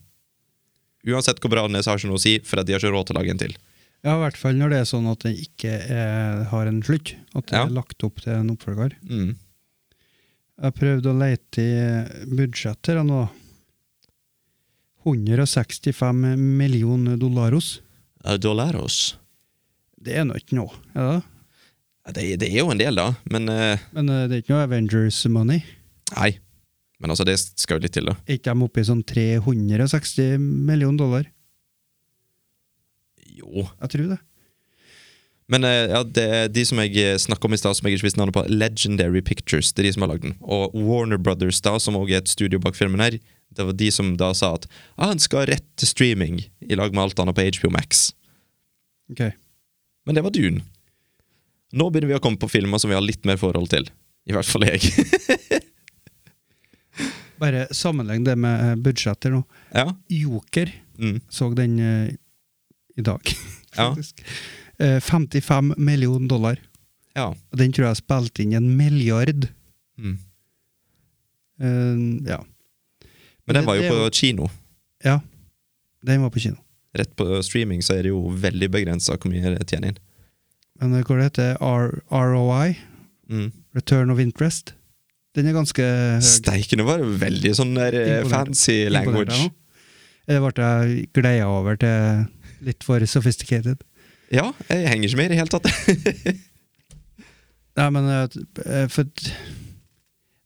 K: Uansett hvor bra den er, så har ikke noe å si, for at de har ikke råd til å lage en til.
J: Ja, i hvert fall når det er sånn at den ikke er, har en slutt. At det
K: Ja.
J: er lagt opp til en oppfølger.
K: Mm.
J: Jeg prøvde å lete i budsjetter her nå. 165 millioner dollaros.
K: Dollaros.
J: Det er nå ikke noe. Ja, da.
K: Ja, Det, det er jo en del, da, men eh,
J: Men eh, det er ikke noe Avengers money.
K: Nei. Men altså, det skal jo litt til, da.
J: Er ikke de oppe i sånn 360 millioner dollar?
K: Jo.
J: Jeg tror det.
K: Men eh, ja, det er de som jeg snakka om i stad, som jeg ikke visste navnet på, Legendary Pictures. Det er de som har lagd den. Og Warner Brothers, da, som også er et studio bak filmen her, det var de som da sa at ah, han skal rett til streaming, i lag med alt annet på HBO Max.
J: Ok.
K: Men det var Dune. Nå begynner vi å komme på filmer som vi har litt mer forhold til. I hvert fall jeg.
J: Bare sammenlegg det med eh, budsjetter nå.
K: ja.
J: Joker
K: Mm.
J: så den eh, i dag,
K: Ja.
J: faktisk. Eh, 55 millioner dollar.
K: ja.
J: Og den tror jeg spilte inn en milliard.
K: Mm.
J: Eh, ja.
K: Men den
J: Det-
K: var
J: det
K: jo
J: er
K: på
J: jo-
K: kino.
J: ja. Den var på kino.
K: Rett på streaming så er det jo veldig begrensa hvor mye det tjener inn.
J: Men eh, hva det heter R ROI?
K: Mm.
J: Return of Interest. Den er ganske høy.
K: Steike, nå var det veldig sånn der eh,
J: Imponert.
K: fancy language.
J: Imponert, ja. Det ble jeg gleia over til litt for sophisticated.
K: Ja, jeg henger ikke med i det hele tatt.
J: Nei, men eh, t- eh, for t-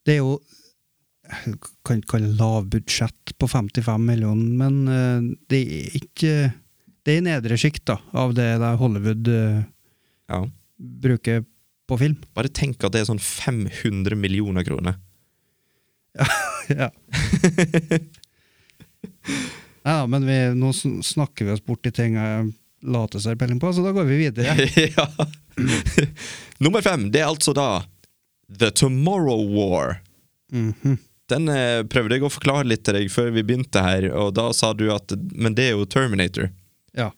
J: det er jo jeg kan ikke kalle det lavbudsjett på 55 millioner, men eh, det er ikke Det er i nedre sjikt da, av det der Hollywood eh,
K: Ja.
J: bruker på film.
K: Bare tenk at det er sånn 500 millioner kroner.
J: ja. ja, men vi, nå sn- snakker vi oss bort i ting jeg later seg peiling på, så da går vi videre.
K: ja. Nummer fem, det er altså da The Tomorrow War.
J: Mhm.
K: Den eh, prøvde jeg å forklare litt til deg før vi begynte her, og da sa du at Men det er jo Terminator.
J: Ja.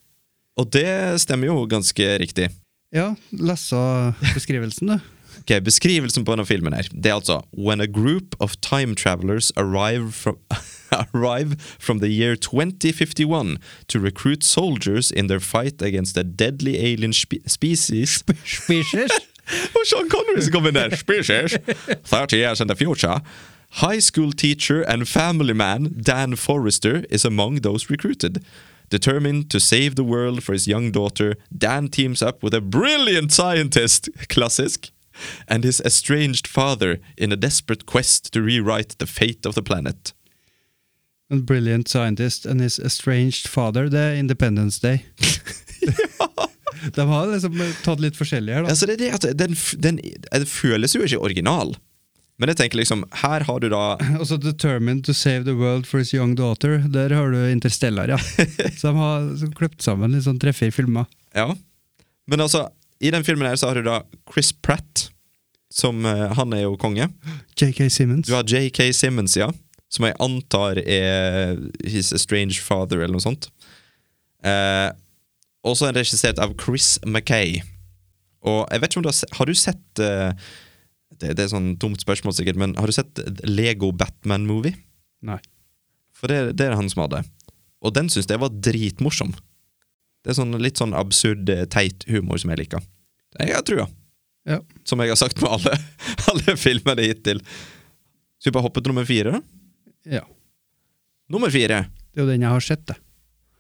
K: Og det stemmer jo ganske riktig.
J: Ja, lesa beskrivelsen, du.
K: Ok, Beskrivelsen på denne filmen her Det er altså When a group of time travelers arrive from, arrive from the year 2051 to recruit soldiers in their fight against a deadly alien spe species
J: Species.
K: Og Sean Connery som kom inn der! Species! 30 years in the future. High school teacher and family man Dan Forrester is among those recruited. Determined to save the world for his young daughter, Dan teams up with a brilliant scientist, klassisk, and his estranged father in a desperate quest to rewrite the fate of the planet.
J: A brilliant scientist and his estranged father. Det er Independence Day. De har liksom tatt litt forskjellig her, da.
K: Altså, det er det at den, f- den, den føles jo ikke original. Men jeg tenker liksom, her har du da
J: Og så 'Determined to save the world for his young daughter'. Der har du Interstellar, ja. Så de har så kløpt sammen litt sånn tre-fire filmer.
K: Ja. Men altså, i den filmen her så har du da Chris Pratt, som eh, han er jo konge.
J: JK Simmons.
K: Du har JK Simmons, ja, som jeg antar er His Strange Father, eller noe sånt. Eh, også er den regissert av Chris Mackay. Og jeg vet ikke om du har, se- har du sett eh, det, det er sånn dumt spørsmål, sikkert, men har du sett Lego Batman-movie?
J: Nei.
K: For det, det er han som hadde. Og den syns jeg var dritmorsom. Det er sånn litt sånn absurd, eh, teit humor som jeg liker. Jeg har trua.
J: Ja.
K: Som jeg har sagt med alle, alle filmene hittil. Skal vi bare hoppe til nummer fire? da?
J: ja.
K: Nummer fire!
J: Det er jo den jeg har sett, det.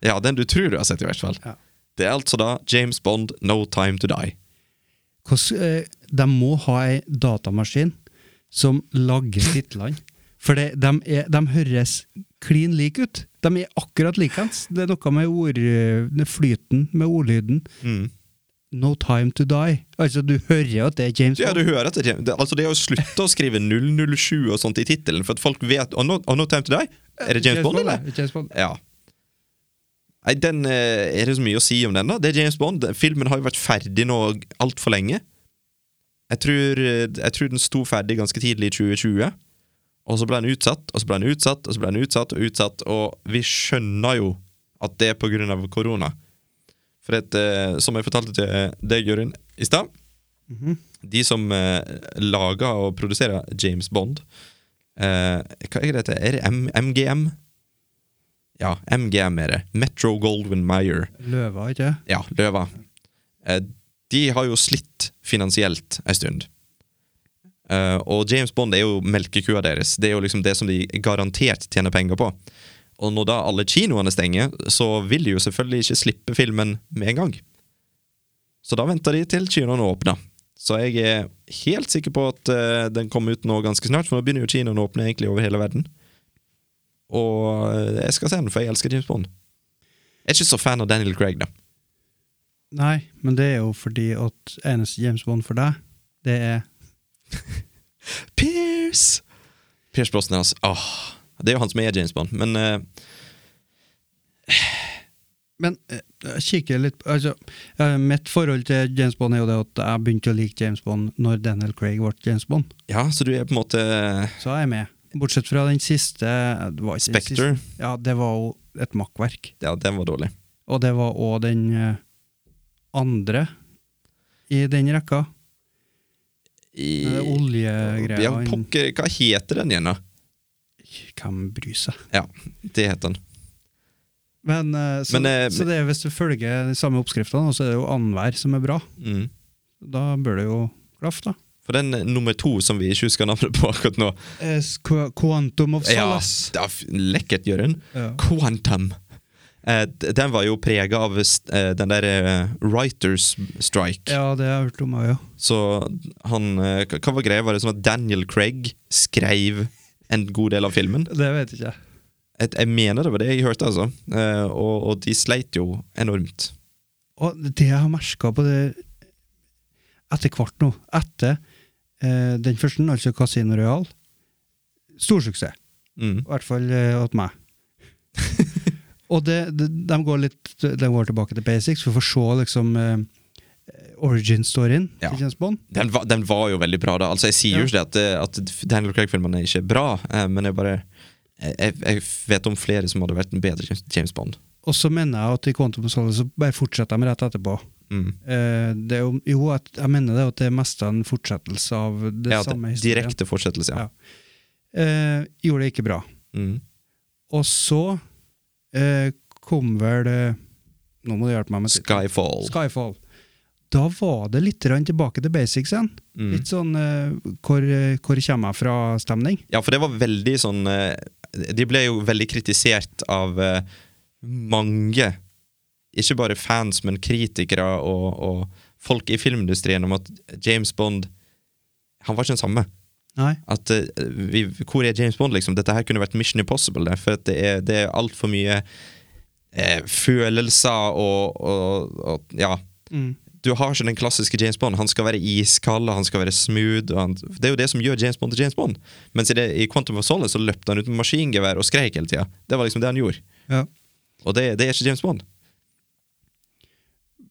K: Ja, den du tror du har sett, i hvert fall.
J: Ja.
K: Det er altså da James Bond, No Time To Die.
J: Hvordan, eh, de må ha ei datamaskin som lager titlene. For det, de, er, de høres klin like ut. De er akkurat likeens. Det er noe med ord, eh, flyten, med ordlyden.
K: Mm.
J: No Time To Die. Altså, du hører jo at det er James
K: Ja,
J: Bond.
K: du hører at det, det, altså det er å slutte å skrive 007 og sånt i tittelen, for at folk vet Og no, og no Time To Die? Er det James Bond, eller?
J: ja. James Bond.
K: Ja. Nei, den eh, Er det så mye å si om den, da? Det er James Bond. Filmen har jo vært ferdig nå altfor lenge. Jeg tror, eh, jeg tror den sto ferdig ganske tidlig i 2020. Og så ble den utsatt, og så ble den utsatt, og så ble den utsatt og utsatt. Og vi skjønner jo at det er på grunn av eh, korona. For at, eh, som jeg fortalte til deg, Jørund, i stad de som eh, lager og produserer James Bond eh, Hva er det det heter? Er det M MGM? Ja, MGM er det. Metro Goldwyn Mayer.
J: Løver, ikke det?
K: Ja, Løva. Eh, de har jo slitt finansielt ei stund. Eh, og James Bond er jo melkekua deres. Det er jo liksom det som de garantert tjener penger på. Og når da alle kinoene stenger, så vil de jo selvfølgelig ikke slippe filmen med en gang. Så da venter de til kinoene åpner. Så jeg er helt sikker på at eh, den kommer ut nå ganske snart, for nå begynner jo kinoene å åpne egentlig over hele verden. Og eh, jeg skal se den, for jeg elsker James Bond. Jeg er ikke så fan av Daniel Craig, da.
J: Nei, men det er jo fordi at eneste James Bond for deg, det er
K: Pierce Pierce Brosnan, altså. Åh, det er jo han som er James Bond, men eh,
J: Men eh, jeg kikker litt altså, eh, Mitt forhold til James Bond er jo det at jeg begynte å like James Bond når Daniel Craig ble James Bond.
K: Ja, så du er på en måte eh,
J: Så er jeg med. Bortsett fra den siste eh, det var ikke den
K: Spectre.
J: siste- Ja, det var jo et makkverk.
K: Ja, den var dårlig.
J: Og det var òg den eh, andre i den rekka.
K: I,
J: Den Oljegreia.
K: ja,
J: han-
K: pokker, hva heter den igjen, da?
J: Hvem bryr seg?
K: Ja, det heter den.
J: Men, eh, så,
K: Men, eh,
J: så det er hvis du følger de samme oppskriftene, og så er det jo annenhver som er bra.
K: Mm.
J: Da bør det jo klaffe, da.
K: For den eh, nummer to som vi ikke husker navnet på akkurat nå
J: Eh, Qu- Quantum of
K: Ja,
J: Solace.
K: det er f- Lekkert, Jørund.
J: Ja.
K: Quantum. Eh, d- den var jo prega av st- eh, den der eh, writers strike.
J: Ja, det har jeg hørt om òg, ja.
K: Så han eh, Hva hva var greia? Var det sånn at Daniel Craig skrev en god del av filmen?
J: Det vet ikke jeg.
K: Jeg, jeg mener det var det jeg hørte, altså. Eh, og, og de sleit jo enormt.
J: Og det jeg har merka på det etter hvert nå, etter eh, den første, altså Casino Royal, stor suksess.
K: Mm.
J: I hvert fall eh, åt meg. og det, det, de går litt de går tilbake til basics for å få se liksom eh, origin-storyen
K: Ja.
J: til James Bond.
K: Den, var, den var jo veldig bra, da. Altså, Jeg sier jo ikke det at, eh, at Daniel Craig-filmene ikke er bra, eh, men jeg bare jeg, jeg- jeg vet om flere som hadde vært en bedre James- James Bond.
J: Og så mener jeg at i Quantum of Solace så bare fortsetter de rett etterpå.
K: Mm.
J: Eh, det er jo, jo, at- jeg mener det at det er mest en fortsettelse av det
K: Ja,
J: samme
K: det-
J: historien.
K: direkte fortsettelse, ja.
J: Ja. Eh, gjorde det ikke bra.
K: Mm.
J: Og så eh, kom vel eh, Nå må du hjelpe meg med tittelen.
K: Skyfall.
J: Skyfall. Da var det litt grann tilbake til basics igjen.
K: Mm.
J: Litt sånn eh, hvor, hvor kommer jeg fra-stemning.
K: Ja, for det var veldig sånn eh, De ble jo veldig kritisert av eh, mange, ikke bare fans, men kritikere og, og folk i filmindustrien om at James Bond Han var ikke den samme.
J: Nei.
K: At eh, vi, Hvor er James Bond, liksom? Dette her kunne vært Mission Impossible. Det, for at det er, det er altfor mye eh, følelser og, og, og Ja.
J: Mm.
K: Du har ikke den klassiske James Bond. Han skal være iskald, og han skal være smooth. Og han, det er jo det som gjør James Bond til James Bond. Mens i, det, i Quantum of Solace så løpte han ut med maskingevær og skreik hele tida. Det var liksom det han gjorde.
J: Ja.
K: Og det, det er ikke James Bond.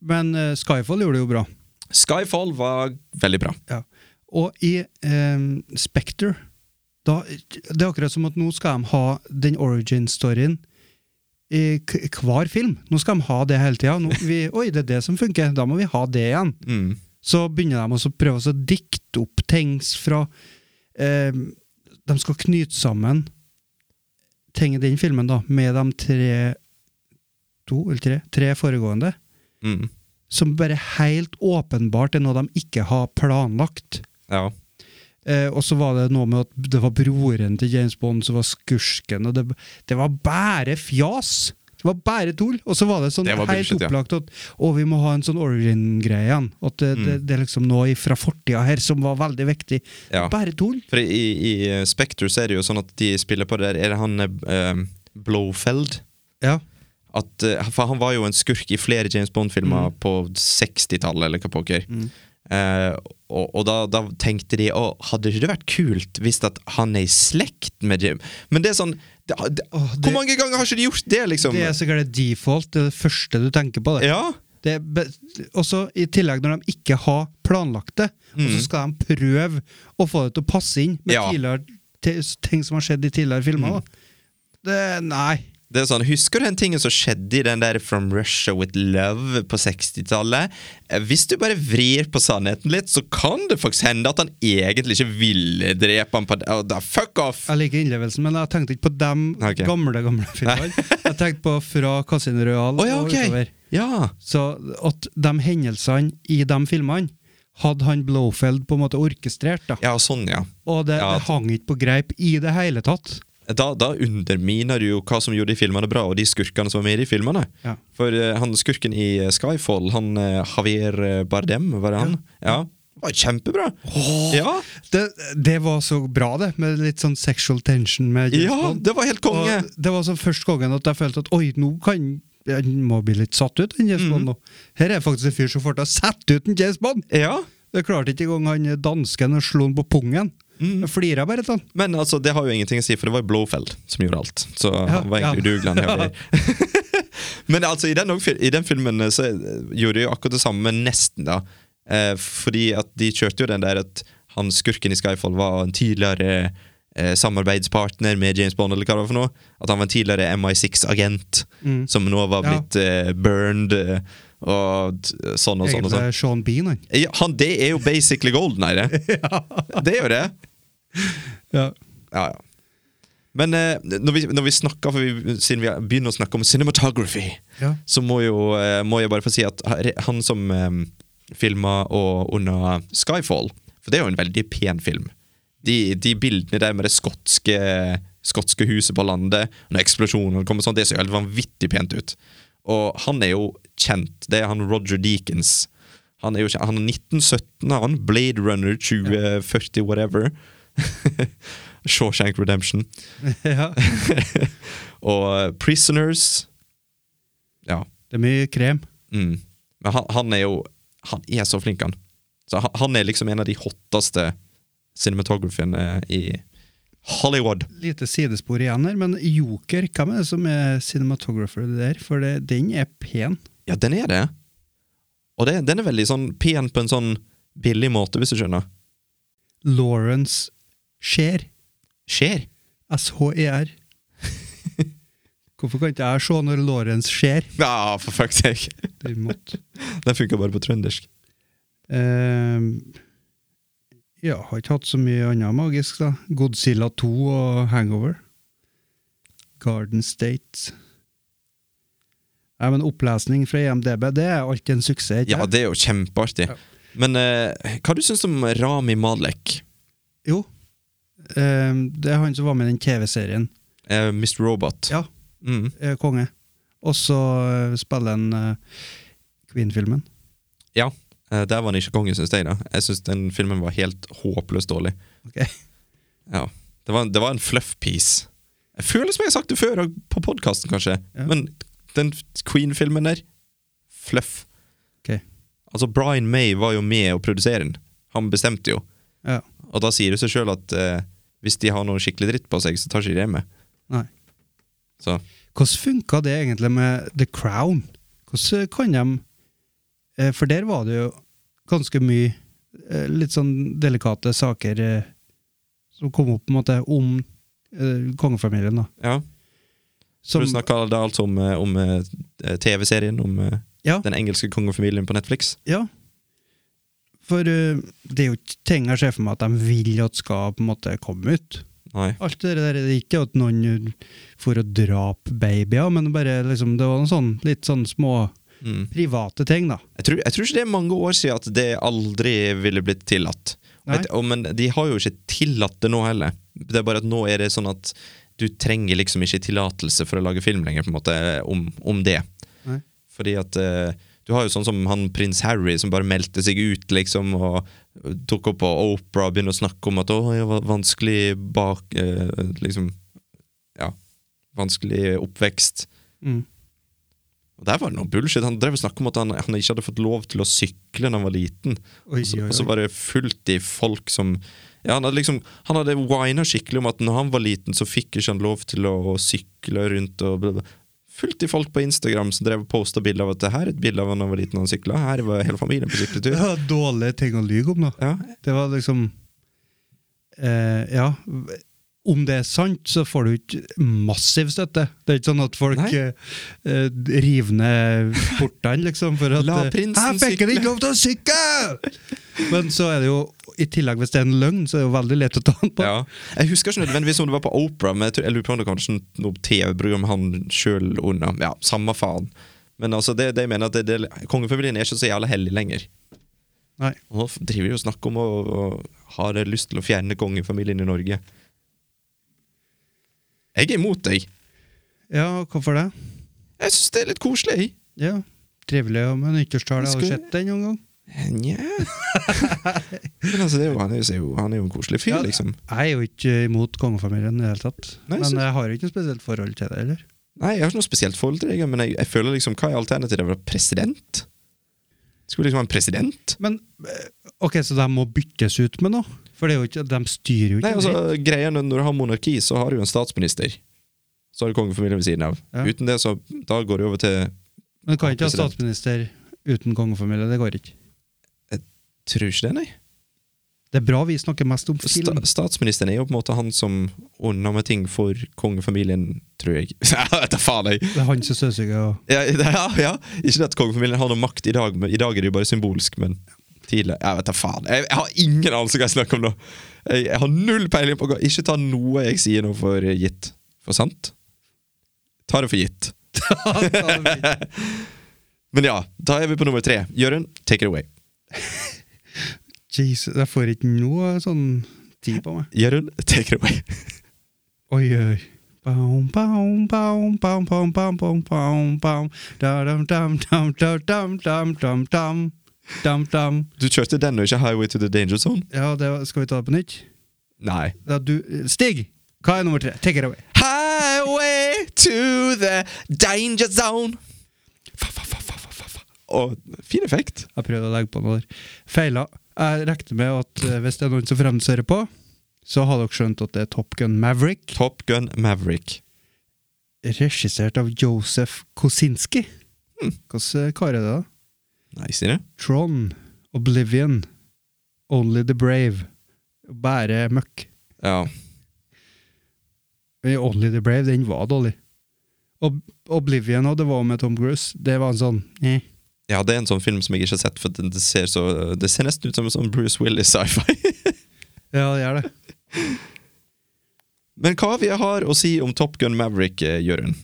J: Men eh, Skyfall gjorde det jo bra.
K: Skyfall var veldig bra.
J: Ja. Og i eh, Spekter da, Det er akkurat som at nå skal de ha den origin-storyen i k hver film. Nå skal de ha det hele tida. Nå- vi- Oi, det er det som funker. Da må vi ha det igjen.
K: Mm.
J: Så begynner de også å prøve å dikte opp ting fra eh, De skal knyte sammen ting i den filmen da, med de tre to eller tre, tre foregående,
K: Mm.
J: som bare helt åpenbart er noe de ikke har planlagt.
K: Ja.
J: Eh, og så var det noe med at det var broren til James Bond som var skurken, og det, det var bare fjas! Det var bare tull! Og så var det sånn
K: Det var
J: helt
K: bullshit, ja.
J: opplagt at å, vi må ha en sånn origin-greie igjen. At det, det,
K: Mm.
J: det er liksom noe fra fortida her som var veldig viktig.
K: Ja.
J: Bare tull!
K: For i, i Spekter så er det jo sånn at de spiller på det der Er det han eh, Blofeld?
J: Ja.
K: at, eh, for han var jo en skurk i flere James Bond-filmer
J: Mm.
K: på 60-tallet, eller hva pokker. Eh, og og da, da tenkte de å, hadde ikke det vært kult hvis at han er i slekt med Jim? Men det er sånn det, det,
J: Åh, det-
K: Hvor mange ganger har ikke de gjort det, liksom?
J: Det er sikkert det default, det er det første du tenker på. Det.
K: ja,
J: Det er be- også I tillegg, når de ikke har planlagt det, og så skal de prøve å få det til å passe inn med
K: Mm. Ja. Mm.
J: tidligere te- ting som har skjedd i tidligere filmer. da. Det, nei.
K: Det er sånn, Husker du den tingen som skjedde i den der From Russia With Love på 60-tallet? Eh, Hvis du bare vrir på sannheten litt, så kan det faktisk hende at han egentlig ikke ville drepe han på oh, da, Fuck off!
J: Jeg liker innlevelsen, men jeg tenkte ikke på dem
K: Ok.
J: gamle gamle filmene. jeg tenkte på fra Casino Royal
K: Å ja,
J: og utover.
K: ok! Ja.
J: Så at de hendelsene i de filmene hadde han Blowfeld på en måte orkestrert. da.
K: ja, sånn, ja.
J: Og det,
K: Ja.
J: det hang ikke på greip i det hele tatt.
K: Da, da underminer du jo hva som gjorde de filmene bra, og de skurkene som var med i de filmene.
J: Ja.
K: For eh, han skurken i eh, Skyfall, han eh, Javier eh, Bardem, var det han? Ja. Var kjempebra! Ja,
J: Det, det var så bra, det, med litt sånn sexual tension. med James
K: ja,
J: Bond.
K: det var helt konge!
J: Og det var så først gangen at jeg følte at oi, nå kan jeg må bli litt satt ut. Den James
K: Mhm.
J: Bond nå. Her er faktisk en fyr som får til å sette ut en James Bond!
K: Ja,
J: Det klarte ikke engang han dansken å slå han på pungen. Jeg flira bare til han.
K: Men altså, Mhm. det har jo ingenting å si, for det var jo Blofeld som gjorde alt. Så han var egentlig
J: ja.
K: udugelig. han jævlig. Men altså, i den, og- i den filmen eh, så eh, gjorde de jo akkurat det samme, nesten, da. Eh, fordi at de kjørte jo den der at han skurken i Skyfall var en tidligere eh, samarbeidspartner med James Bond, eller hva det var for noe. At han var en tidligere MI6-agent, som nå var
J: Mm. Ja.
K: blitt eh, burned, eh, og t- sånn og sånn
J: Egentlig
K: og sånn.
J: er Sean Bean, han.
K: Ja, han, det er jo basically golden, er det? Det er jo det.
J: Ja.
K: Ja, ja. Men eh, når, vi, når vi snakker, for vi, siden vi begynner å snakke om cinematography,
J: Ja.
K: så må, jo, eh, må jeg bare få si at han som um, filma og under Skyfall For det er jo en veldig pen film. De, de bildene der med det skotske, skotske huset på landet, når eksplosjonen kommer sånn, det ser jo helt vanvittig pent ut. Og han er jo kjent. Det er han Roger Deakins. Han er jo kjent. Han er 1917, han. Blade Runner 2040, whatever. Shawshank Redemption.
J: ja.
K: Og eh, Prisoners. Ja.
J: Det er mye krem.
K: Mm. Men han, han er jo Han er så flink, han. Så han, han er liksom en av de hotteste cinematographiene i Hollywood.
J: Lite sidespor igjen her, men Joker, hvem er det som er cinematographer der? For det, den er pen.
K: Ja, den er det. Og det, den er veldig sånn pen på en sånn billig måte, hvis du skjønner.
J: Lawrence Shear.
K: Skjer.
J: S-H-E-R. E Hvorfor kan ikke jeg se når Lawrence Shear?
K: Ja, for fuck's sake.
J: Det er imot.
K: Den funker bare på trøndersk.
J: Ehm, ja, har ikke hatt så mye annet magisk, da. Godzilla 2 og Hangover. Garden State. Nei, men Opplesning fra E IMDb det er alltid en suksess. ikke
K: Ja, det er jo kjempeartig.
J: Ja.
K: Men eh, hva du syns om Rami Malek?
J: Jo. Ehm, det er han som var med i den TV-serien.
K: Eh, Mr. Robot.
J: Ja.
K: Mm.
J: eh, konge. Og så eh, spiller han eh, Queen-filmen.
K: Ja, eh, der var han ikke konge, syns jeg. da Jeg syns den filmen var helt håpløst dårlig.
J: Ok.
K: Ja, Det var, det var en fluff piece. Jeg føler som jeg har sagt det før, og på podkasten kanskje,
J: Ja.
K: men den Queen-filmen der Fluff.
J: Ok.
K: Altså, Brian May var jo med å produsere den. Han bestemte jo.
J: Ja.
K: Og da sier det seg sjøl at eh, hvis de har noe skikkelig dritt på seg, så tar ikke de det med.
J: Nei.
K: Så
J: Hvordan funka det egentlig med The Crown? Hvordan kan de eh, For der var det jo ganske mye eh, litt sånn delikate saker eh, som kom opp på en måte om eh, kongefamilien, da.
K: ja.
J: Som,
K: Du snakka da altså om, eh, om eh, TV-serien om eh,
J: Ja.
K: den engelske kongefamilien på Netflix?
J: ja. For eh, det er jo ikke ting jeg ser for meg at de vil at skal på en måte komme ut.
K: Nei.
J: Alt det der, det er ikke at noen eh, for å drape babyer, men bare liksom, det var noen sånn, litt sånn små
K: Mm.
J: private ting, da.
K: Jeg tror, jeg tror ikke det er mange år siden at det aldri ville blitt tillatt. Og
J: Nei.
K: jeg- og, men de har jo ikke tillatt det nå heller. Det er bare at nå er det sånn at du trenger liksom ikke tillatelse for å lage film lenger, på en måte, om, om det.
J: Nei.
K: Fordi at eh, du har jo sånn som han prins Harry som bare meldte seg ut, liksom, og tok opp på Opera og begynte å snakke om at å, jeg var vanskelig bak eh, Liksom Ja. Vanskelig oppvekst.
J: Mm.
K: Og der var det noe bullshit. Han drev og snakket om at han, han ikke hadde fått lov til å sykle da han var liten.
J: Oi,
K: Og så-
J: oi,
K: Og så
J: oi.
K: var det fullt i folk som ja, Han hadde liksom, han hadde whina skikkelig om at når han var liten, så fikk ikke han lov til å sykle rundt og bla, bla. Fullt i folk på Instagram som drev og posta bilder av at det her er et bilde av han da han var liten og han sykla. Her var hele familien på
J: Det
K: sykletur.
J: var dårlige ting å lyge om, da.
K: Ja,
J: Det var liksom eh, Ja. om det er sant, så får du ikke massiv støtte. Det er ikke sånn at folk
K: Nei.
J: eh, eh, river ned portene, liksom. For at,
K: La
J: eh,
K: prinsen
J: «Jeg fikk
K: sykle!»
J: ikke lov til å sykle! Men så er det jo, i tillegg hvis det er en løgn, så er det jo veldig lett å ta den på.
K: Ja. Jeg husker ikke nødvendigvis om det var på Opera, men jeg, tror, jeg lurer på om det kanskje er noe TV-program han sjøl unna. Ja, samme faen. Men altså, det, det jeg mener at det, det, kongefamilien er ikke så jævla hellig lenger.
J: Nei.
K: Og Nå f- driver de og snakker om å, å ha det lyst til å fjerne kongefamilien i Norge. Jeg er imot deg.
J: Ja, hvorfor det?
K: Jeg syns det er litt koselig.
J: Ja, trivelig å- med nyttårstale. Har du
K: Skal-
J: sett den noen gang?
K: Nja Men altså, det er jo, han, er jo, han er jo en koselig fyr,
J: Ja,
K: liksom.
J: Jeg er jo ikke imot kongefamilien i det hele tatt.
K: Nei, så-
J: Men jeg har jo ikke noe spesielt forhold til det heller.
K: Nei, jeg har ikke noe spesielt forhold til deg, men jeg, jeg føler liksom, hva er alternativet? Å være President? Skulle liksom ha en president?
J: Men eh, ok, så de må byttes ut med noe? For det er jo ikke, de styrer jo ikke
K: Nei, altså,
J: dritt.
K: greia når når du har monarki, så har du jo en statsminister. Så har du kongefamilien ved siden av.
J: Ja.
K: Uten det, så da går det over til
J: Men du kan ikke ha
K: president.
J: statsminister uten kongefamilie. Det går ikke.
K: Tror ikke det, nei.
J: Det er bra vi snakker mest om
K: Sta
J: film.
K: statsministeren er jo på en måte han som ordner med ting for kongefamilien, tror jeg. Ja, Dette faen jeg!
J: Det er han som støvsuger og
K: Ja, ja, ja. Ikke det at kongefamilien har noe makt i dag, men i dag er det jo bare symbolsk, men tidligere Jeg vet da faen. Jeg, jeg har ingen anelse hva jeg snakker om nå. Jeg, jeg har null peiling på hva Ikke ta noe jeg sier nå for gitt. For sant? Ta det for gitt. Men ja, da er vi på nummer tre. Jørund, take it away.
J: Jesus, jeg får ikke noe sånn tid på meg.
K: Jørund, take it away.
J: Oi, oi. Baum, baum, baum, baum, baum, baum, baum, baum, baum. Da, dam, dam, dam, da, dam, dam, dam, dam. Dam, dam.
K: Du kjørte den og ikke Highway to the Danger Zone?
J: Ja, det var, skal vi ta det på nytt?
K: Nei.
J: Ja, du, Stig! Hva er nummer tre? Take it away.
K: Highway to the Danger Zone. Fa, fa, fa, fa, fa, fa, fa. Og fin effekt.
J: Jeg prøvde å legge på noe der. Feila. Jeg regner med at eh, hvis det er noen som fremsører på, så har dere skjønt at det er Top Gun Maverick,
K: Top Gun Maverick.
J: regissert av Josef Kosinski. Hvilken kar er det, da?
K: Nei, sier jeg.
J: Tron, Oblivion, Only the Brave. Bare møkk.
K: Ja.
J: Men Only the Brave, den var dårlig. Ob Oblivion òg, det var med Tom Cruise. Det var en sånn eh.
K: ja, det er en sånn film som jeg ikke har sett, for den- det ser, så, det ser nesten ut som en sånn Bruce Willis sci-fi.
J: Ja, det gjør det.
K: Men hva vi har å si om Top Gun Maverick, eh, Jørund?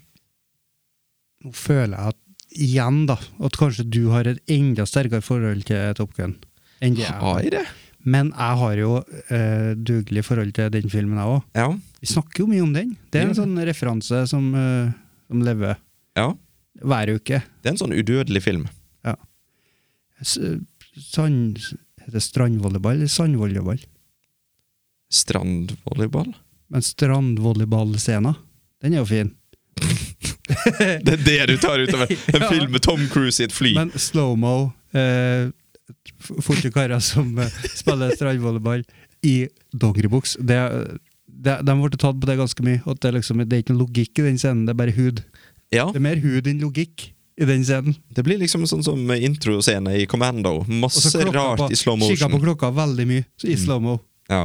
J: Nå føler jeg at igjen da, at kanskje du har et enda sterkere forhold til Top Gun enn det jeg
K: Har
J: har.
K: jeg det?
J: Men jeg har jo eh, dugelig forhold til den filmen, jeg òg.
K: Ja.
J: Vi snakker jo mye om den. Det er en
K: Ja.
J: sånn referanse som, eh, som lever
K: ja.
J: hver uke.
K: Det er en sånn udødelig film.
J: S sand... Heter det strandvolleyball eller sandvolleyball?
K: Strandvolleyball?
J: Men strandvolleyballscenen, den er jo fin.
K: Det er det du tar ut av en en
J: Ja.
K: film med Tom Cruise i et fly?
J: Men slow-mo, eh, f- forte karer som eh, spiller strandvolleyball i dongeribuks det, det, De ble tatt på det ganske mye. At det, er liksom, det er ikke noe logikk i den scenen, det er bare hud.
K: ja.
J: Det er mer hud enn logikk i den scenen.
K: Det blir liksom sånn som introscene i Commando.
J: Og så
K: Masse
J: klokka
K: rart
J: på-
K: i slow
J: Kikket på
K: motion. Mm.
J: klokka veldig mye så i slow-mo.
K: Ja.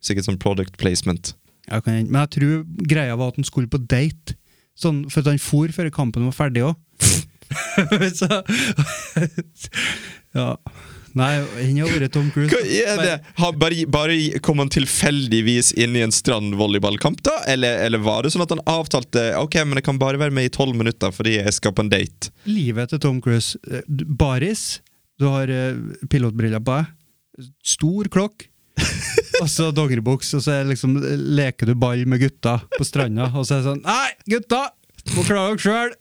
K: Sikkert sånn product placement.
J: Ja, kan hende. Men jeg tror greia var at han skulle på date. Sånn, for at han for før kampen var ferdig òg. ja. Nei, han har vært Tom Cruise.
K: Hva er det? Har bare, bare kom han tilfeldigvis inn i en strandvolleyballkamp, da? Eller, eller var det sånn at han avtalte Ok, men jeg kan bare være med i tolv minutter fordi jeg skal på en date?
J: livet til Tom Cruise. Eh, du- Baris, du har eh, pilotbriller på deg, stor klokk, og så dongeribuks, og så er liksom, leker du ball med gutta på stranda, og så er det sånn Nei, gutta! Må klare dere sjøl!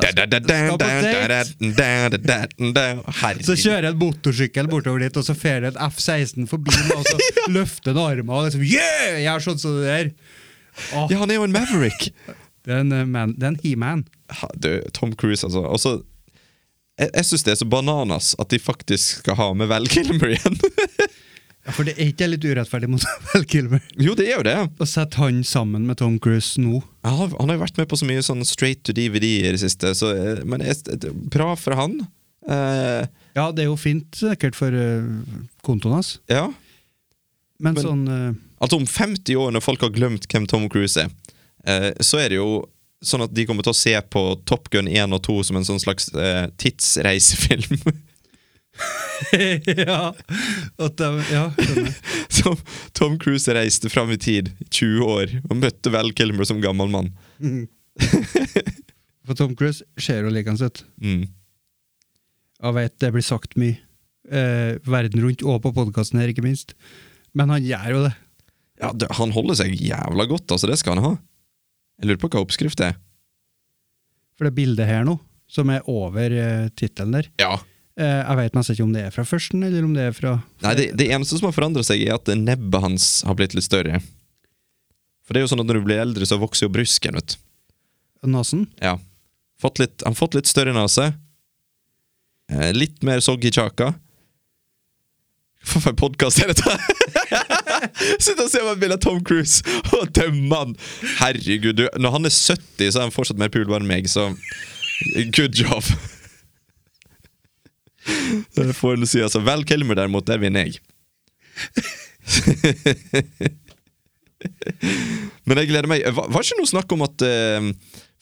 K: Da, da, da, da,
J: Skal på
K: da, da,
J: date.
K: da, da, da, da.
J: Så
K: Herregud.
J: kjører en motorsykkel bortover dit, og så fer det en F-16 forbi, meg, og så løfter en armen og liksom Yeah! Jeg er sånn som det der. Åh,
K: Ja, han er jo en Maverick.
J: det er en, eh, man- det er en he-man.
K: Ha, Du, Tom Cruise, altså. Og så Jeg, jeg syns det er så bananas at de faktisk skal ha med Val Kilmer igjen.
J: Ja, For det er ikke litt urettferdig mot Val Kilmer
K: jo, det er jo det.
J: å sette han sammen med Tom Cruise nå?
K: Ja, Han har, han har jo vært med på så mye sånn straight to DVD i det siste, så, eh, men jeg, bra for han. Eh,
J: Ja, det er jo fint sikkert for eh, kontoen hans.
K: ja.
J: Men,
K: Men-
J: sånn eh,
K: Altså om 50 år, når folk har glemt hvem Tom Cruise er, eh, så er det jo sånn at de kommer til å se på Top Gun 1 og 2 som en sånn slags eh, tidsreisefilm.
J: Ja. At de, ja, skjønner.
K: som Tom Cruise reiste fram i tid, 20 år, og møtte Val Kilmer som gammel mann.
J: For Tom Cruise ser jo likende ut.
K: Mm.
J: Jeg vet det blir sagt mye. Eh, verden rundt, og på podkasten her, ikke minst. Men han gjør jo det.
K: Ja, det, Han holder seg jævla godt, altså. Det skal han ha. Jeg lurer på hva oppskrift det er.
J: For det bildet her nå, som er over uh, tittelen der
K: Ja.
J: eh, Jeg vet nesten ikke om det er fra førsten, eller om det er fra
K: Nei, det, det eneste som har forandra seg, er at nebbet hans har blitt litt større. For det er jo sånn at når du blir eldre, så vokser jo brysken, vet du.
J: nesen.
K: Ja. Fått litt, han har fått litt større nese. Eh, litt mer soggy kjaka. Hva for en podkast er dette? Sitt og se meg et bilde av Tom Cruise og dømme han! Herregud, du, når han er 70, så er han fortsatt mer pulbar enn meg, så good job. Det får en si, altså. Val Kilmer, derimot, der vinner jeg. Men jeg gleder meg. Var, var ikke noe snakk om at eh,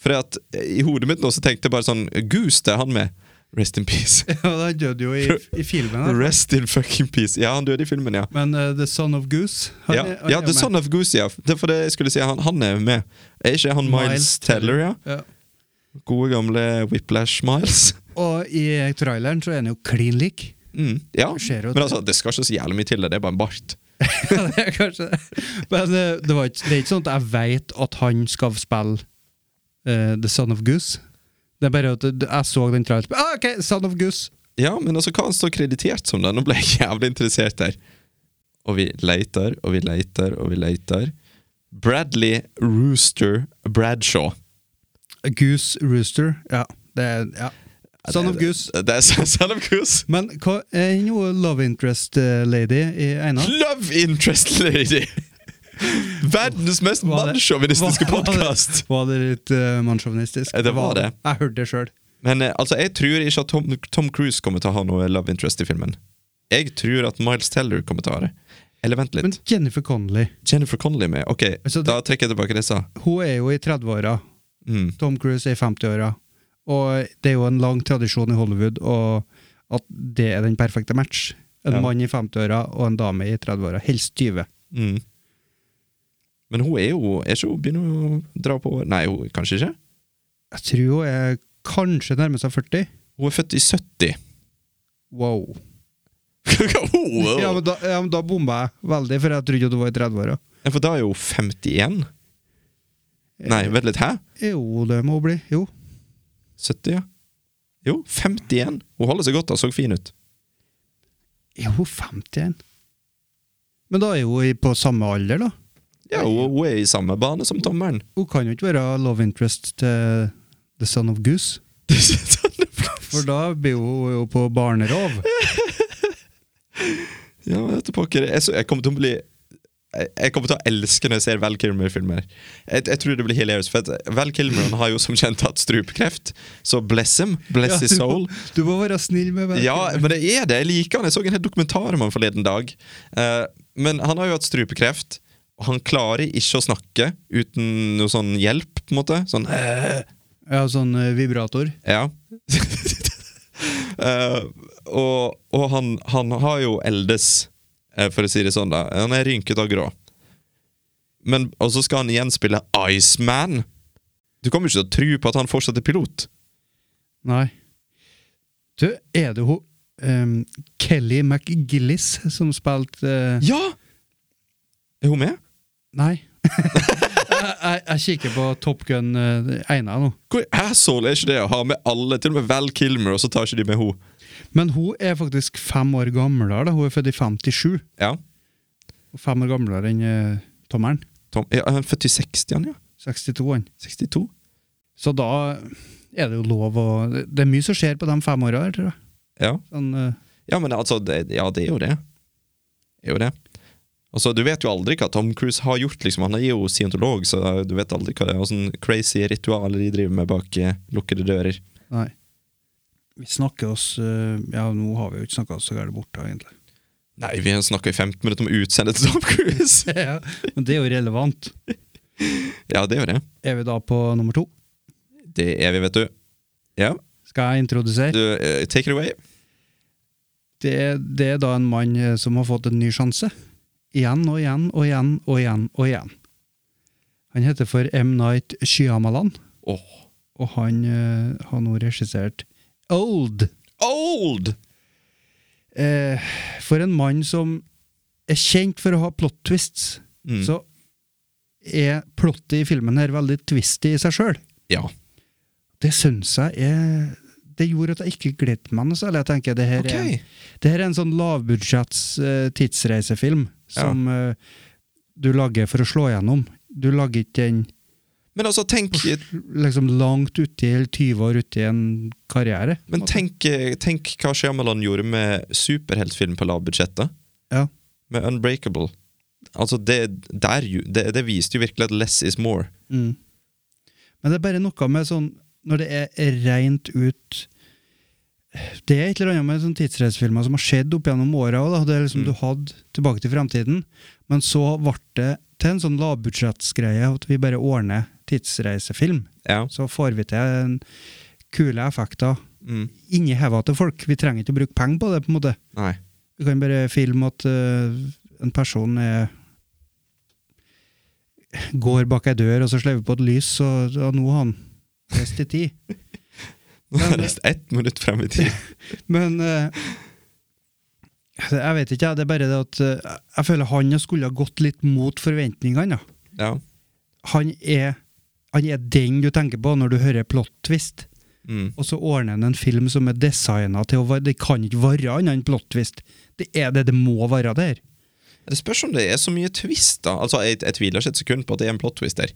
K: For at eh, i hodet mitt nå så tenkte jeg bare sånn Goose, det er han med. Rest in peace.
J: Ja, han døde jo i, i filmen. Da.
K: Rest in fucking peace. Ja, han døde i filmen, ja.
J: Men eh, The Son of Goose han
K: Ja,
J: er- han
K: ja
J: er
K: The
J: med.
K: Son of Goose, ja. Det er for det jeg skulle si. Han, han er med. Er ikke han Miles,
J: Miles
K: Teller, ja?
J: Ja.
K: Gode, gamle Whiplash-Miles.
J: Og i traileren så er han jo klin lik.
K: Mm, ja,
J: Ser ut.
K: men altså, det skal ikke så jævlig mye til det. Det er bare en bart.
J: Ja, det er kanskje det. Men eh, det, var ikke, det er ikke sånn at jeg veit at han skal spille eh, The Son of Goose. Det er bare at det- jeg så den traileren ah, OK, Son of Goose!
K: Ja, men altså, hva han står kreditert som, da? Nå ble jeg jævlig interessert der. Og vi leiter, og vi leiter, og vi leiter. Bradley Rooster Bradshaw.
J: Goose Rooster. Ja. Det er, ja. Son of Goose.
K: Det er Son of Goose.
J: Men hva er noe love interest eh, lady i Einar?
K: Love interest lady! Verdens mest
J: Var det-
K: mannssjåvinistiske
J: var- var det-
K: podkast!
J: Var det litt uh, mannssjåvinistisk?
K: Eh, det var det.
J: Jeg hørte det sjøl.
K: Men eh, altså, jeg tror ikke at Tom, Tom Cruise kommer til å ha noe love interest i filmen. Jeg tror at Miles Teller kommer til å ha det. Eller vent litt.
J: Men Jennifer Connolly,
K: Jennifer Connolly med. Ok,
J: Altså, det-
K: da trekker jeg tilbake det jeg sa.
J: hun er jo i 30-åra.
K: Mm.
J: Tom Cruise er i 50-åra. Og det er jo en lang tradisjon i Hollywood og at det er den perfekte match. En
K: Ja.
J: mann i 50-åra og en dame i 30-åra. Helst 20.
K: Mm. Men hun er jo Er ikke hun begynner hun å dra på år? Nei, hun, kanskje ikke?
J: Jeg tror hun er kanskje nærmer seg 40.
K: Hun er født i 70.
J: Wow.
K: Wow.
J: Ja,
K: ja,
J: men da, ja, men da bomba jeg veldig, for jeg trodde at hun var i 30-åra.
K: For da er hun 51? Nei, vent litt. Hæ?
J: Jo, det må hun bli. Jo.
K: 70, ja. Jo, 51. Hun holder seg godt og så fin ut.
J: Er hun 51? Men da er hun i- på samme alder, da.
K: Ja, hun, hun er i samme bane som tommelen.
J: Hun kan jo ikke være love interest til The Son of Goose, for da blir hun jo på barnerov.
K: Ja, men dette pokker jeg, så- jeg kommer til å bli jeg jeg kommer til å elske når jeg ser Val Kilmer-filmer. Jeg, jeg tror det blir hilarious For at Val Kilmer han har jo som kjent hatt strupekreft, så bless him. Bless his
J: du,
K: soul.
J: må, du må være snill med meg.
K: Ja, men det er det. Jeg liker han. Jeg så en hel dokumentar om han forleden dag. Eh, men han har jo hatt strupekreft, og han klarer ikke å snakke uten noe sånn hjelp, på en måte. Sånn eh,
J: Ja, sånn eh, vibrator.
K: Ja. Eh, og og han, han har jo eldes, eh, for å si det sånn, da. Han er rynket og grå. Men, og så skal han igjen spille Iceman. Du kommer ikke til å tro på at han fortsatt er pilot.
J: Nei. Du, er det hun ehm, Kelly McGillis som spilte eh,
K: Ja! Er hun med?
J: Nei. jeg, jeg, jeg kikker på Top Gun uh, Eina nå.
K: Hvor asshole er ikke det å ha med alle, til og med Val Kilmer, og så tar ikke de med ho
J: Men hun er faktisk fem år gamlere. da. Hun er født i 57.
K: Ja.
J: Og Fem år gamlere enn eh, tommelen.
K: Tom, ja, han er født i 60, han, ja.
J: 62, han.
K: 62.
J: Så da er det jo lov å Det er mye som skjer på de fem åra her, tror jeg.
K: Ja,
J: Sånn, eh,
K: ja men altså, det, ja, det er jo det. Det er jo det. Altså, du vet jo aldri hva Tom Cruise har gjort, liksom. Han er jo scientolog, så du vet aldri hva det er, åssen crazy ritualer de driver med bak eh, lukkede dører.
J: Nei. Vi snakker oss eh, Ja, nå har vi jo ikke snakka oss så gærent borte, egentlig.
K: Nei, vi snakker i 15 minutter om utseendet til Tom Cruise!
J: ja, men det er jo relevant.
K: ja, det gjør jeg.
J: Er vi da på nummer to?
K: Det er vi, vet du. Ja,
J: Skal jeg introdusere?
K: du, eh, take it away.
J: Det, er- det er da en mann eh, som har fått en ny sjanse. Igjen og igjen og igjen og igjen og igjen. Han heter for M. Night Shyamalan,
K: Åh.
J: og han eh, har nå regissert Old.
K: Old!
J: Eh, for en mann som er kjent for å ha plot twists,
K: Mm.
J: så er plottet i filmen her veldig twisty i seg sjøl.
K: Ja.
J: Det syns jeg er Det gjorde at jeg ikke gledet meg noe særlig. Jeg tenker, det her,
K: Ok.
J: er, det her er en sånn lavbudsjetts eh, tidsreisefilm som eh, du lager for å slå gjennom. Du lager ikke den
K: Men altså, tenk,
J: liksom langt uti, eller 20 år uti en karriere.
K: men tenk, eh, tenk hva Shyamalan gjorde med superheltfilm på lavbudsjettet.
J: Ja.
K: Med Unbreakable. Altså, det, der, jo- det, det viste jo virkelig at less is more.
J: Mm. Men det er bare noe med sånn Når det er rent ut Det er et eller annet med sånn tidsreisefilmer som har skjedd opp gjennom åra. også, da. Det er liksom Du hadde Tilbake til fremtiden, men så ble det til en sånn lavbudsjettsgreie at vi bare ordner tidsreisefilm.
K: Ja.
J: Så får vi til en kule effekter
K: Mm.
J: inni hodet til folk. Vi trenger ikke å bruke penger på det. på en måte
K: Nei.
J: du kan bare filme at øh, en person er Går bak ei dør, og så slår vi på et lys, og ja, nå har han reist i tid.
K: Nå
J: Men-
K: er det ett minutt frem i tid.
J: Men øh, Jeg vet ikke, jeg. Det er bare det at øh, jeg føler han skulle ha gått litt mot forventningene. Ja.
K: Ja.
J: Han, er, han er den du tenker på når du hører plot twist,
K: Mm.
J: og så ordner han en film som er designa til å være Det kan ikke være annet enn plot twist. Det er det det må være der.
K: Det spørs om det er så mye twist, da. Altså, jeg, jeg tviler ikke et sekund på at det er en plot twist der.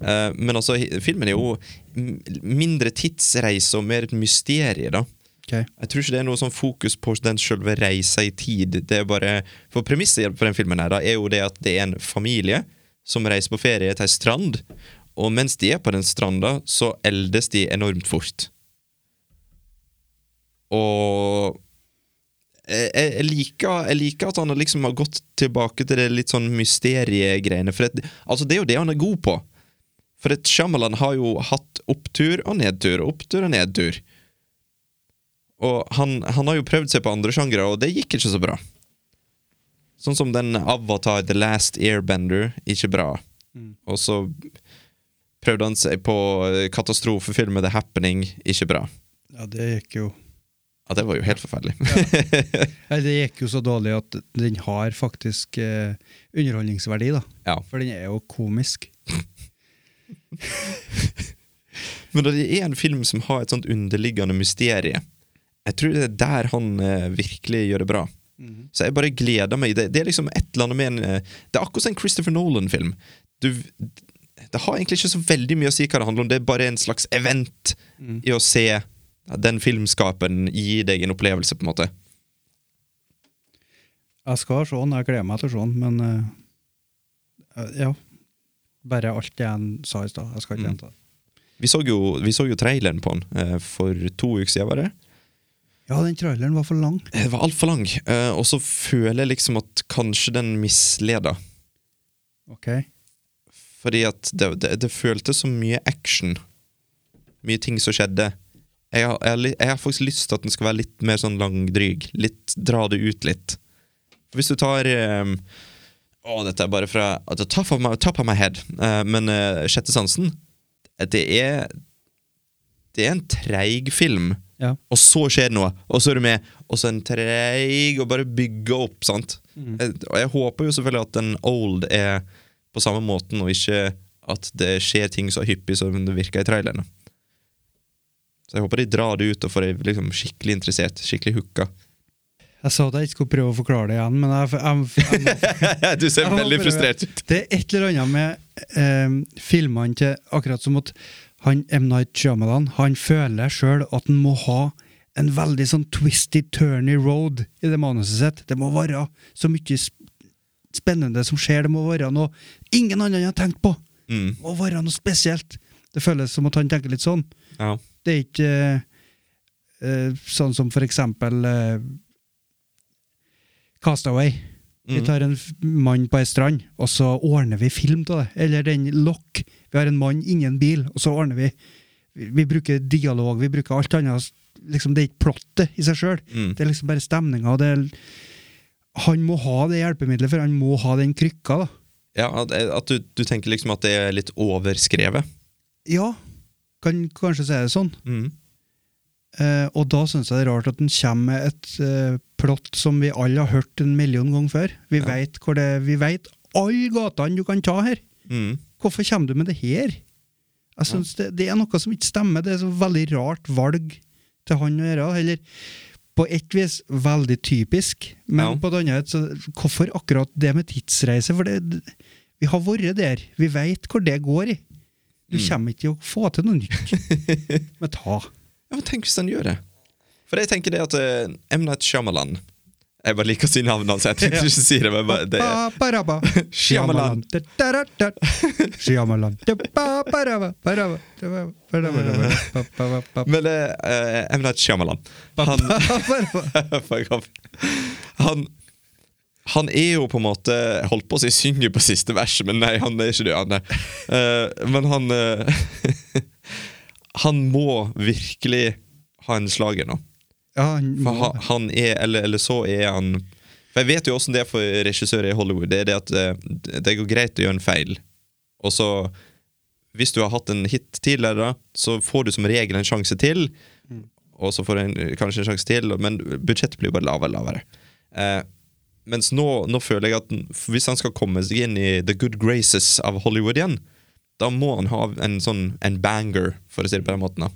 K: Eh, men altså, hi- filmen er jo m- mindre tidsreise og mer et mysterium, da.
J: Okay.
K: Jeg tror ikke det er noe sånn fokus på den selve reisa i tid. Det er bare, for Premisset for den filmen her da, er jo det at det er en familie som reiser på ferie til ei strand. Og mens de er på den stranda, så eldes de enormt fort. Og jeg, jeg- jeg, liker, jeg liker at han har liksom har gått tilbake til det litt sånn mysteriegreiene. For det, altså det er jo det han er god på. For et Shyamalan har jo hatt opptur og nedtur, og opptur og nedtur. Og han, han har jo prøvd seg på andre sjangre, og det gikk ikke så bra. Sånn som den Avatar The Last Airbender. Ikke bra. Og så prøvde han seg på eh, katastrofefilmen The Happening. Ikke bra.
J: Ja, det gikk jo
K: Ja, det var jo helt forferdelig.
J: Nei, det gikk jo så dårlig at den har faktisk eh, underholdningsverdi, da.
K: Ja.
J: For den er jo komisk.
K: Men det er en film som har et sånt underliggende mysterie. Jeg tror det er der han eh, virkelig gjør det bra. Så jeg bare gleder meg. Det, det er liksom et eller annet med en eh, Det er akkurat som en Christopher Nolan-film. Du, det har egentlig ikke så veldig mye å si hva det handler om, det er bare en slags event i å se den filmskaperen gi deg en opplevelse, på en måte.
J: Jeg skal se den, jeg gleder meg til å se den, men eh, eh, ja. Bare alt det jeg sa i stad. Jeg skal ikke gjenta det.
K: Vi så jo, vi så jo traileren på den eh, for to uker siden, var det?
J: Ja, den traileren var for lang.
K: Det var altfor lang, eh, og så føler jeg liksom at kanskje den misleda.
J: Ok.
K: Fordi at det, det, det føltes så mye action. Mye ting som skjedde. Jeg har, jeg, har, li- jeg har faktisk lyst til at den skal være litt mer sånn langdryg. Litt, dra det ut litt. Hvis du tar eh, Å, dette er bare fra at det er top, of my, top of my head. Eh, men eh, Sjette sansen Det er Det er en treig film.
J: Ja.
K: Og så skjer det noe, og så er du med. Og så en treig og bare bygge opp, sant.
J: Mm.
K: Jeg, og jeg håper jo selvfølgelig at en old er på samme måten, og ikke at det skjer ting så hyppig som det virker i trailerne. Så jeg håper de drar det ut og får deg liksom skikkelig interessert, skikkelig hooka.
J: Jeg sa at jeg ikke skulle prøve å forklare det igjen, men jeg, jeg, jeg, jeg
K: du ser
J: Jeg må
K: veldig
J: prøve.
K: frustrert ut.
J: Det er et eller annet med eh, filmene til Akkurat som at han, M. Night Shyamalan han føler sjøl at han må ha en veldig sånn twisty, turny road i det manuset sitt. Det må være så mye sp- spennende som skjer. Det må være noe ingen andre har tenkt på.
K: Mm,
J: Det må være noe spesielt. Det føles som at han tenker litt sånn.
K: ja.
J: Det er ikke eh, eh, sånn som for eksempel eh, Castaway. Vi tar en f- mann på ei strand, og så ordner vi film av det. Eller den Lock. Vi har en mann ingen bil, og så ordner vi Vi bruker dialog, vi bruker alt annet. Liksom, det er ikke plottet i seg sjøl. Det er liksom bare stemninga. Han må ha det hjelpemiddelet, for han må ha den krykka. da.
K: Ja, at, at du, du tenker liksom at det er litt overskrevet.
J: Ja, kan kanskje si det sånn.
K: Mm.
J: Eh, og da syns jeg det er rart at den kommer med et eh, plott som vi alle har hørt en million ganger før. Vi vet hvor det Vi vet alle gatene du kan ta her!
K: Mm.
J: Hvorfor kommer du med det her? Jeg synes det, det er noe som ikke stemmer. Det er så veldig rart valg til han å gjøre. Eller på ett vis veldig typisk, men
K: Ja.
J: på et annet så, Hvorfor akkurat det med tidsreise? For det, vi har vært der. Vi veit hvor det går i. Du kommer ikke til å få til noe nytt. Men ta.
K: Ja, men Tenk hvis han gjør det? For jeg tenker det at eh, M. Night Shyamalan Jeg bare liker å si navnet hans. Jeg tenkte ikke å si det, men bare, det er
J: Ba-ba-ra-ba.
K: Shyamalan.
J: Da-da-da-da. Shyamalan. Da-ba-ba-ra-ba. Ba-ra-ba. Da-ba-ba. Ba-ra-ba-ra-ba. Ba-ba-ba-ba.
K: Men det er M. Night Shyamalan Han, Fuck off. han han er jo på en måte jeg Holdt på å si synger på siste verset, men nei, han er ikke det. Han er. Eh, men han eh, Han må virkelig ha en slager nå.
J: Ja, han
K: For
J: må
K: ha- han er, eller, eller så er han For Jeg vet jo åssen det er for regissører i Hollywood. Det er det at eh, det går greit å gjøre en feil, og så Hvis du har hatt en hit tidligere, så får du som regel en sjanse til, og så får du en, kanskje en sjanse til, men budsjettet blir bare lavere og lavere. Eh, mens nå, nå føler jeg at den- hvis han skal komme seg inn i the good graces av Hollywood igjen, da må han ha en sånn en banger, for å si det på den måten. da.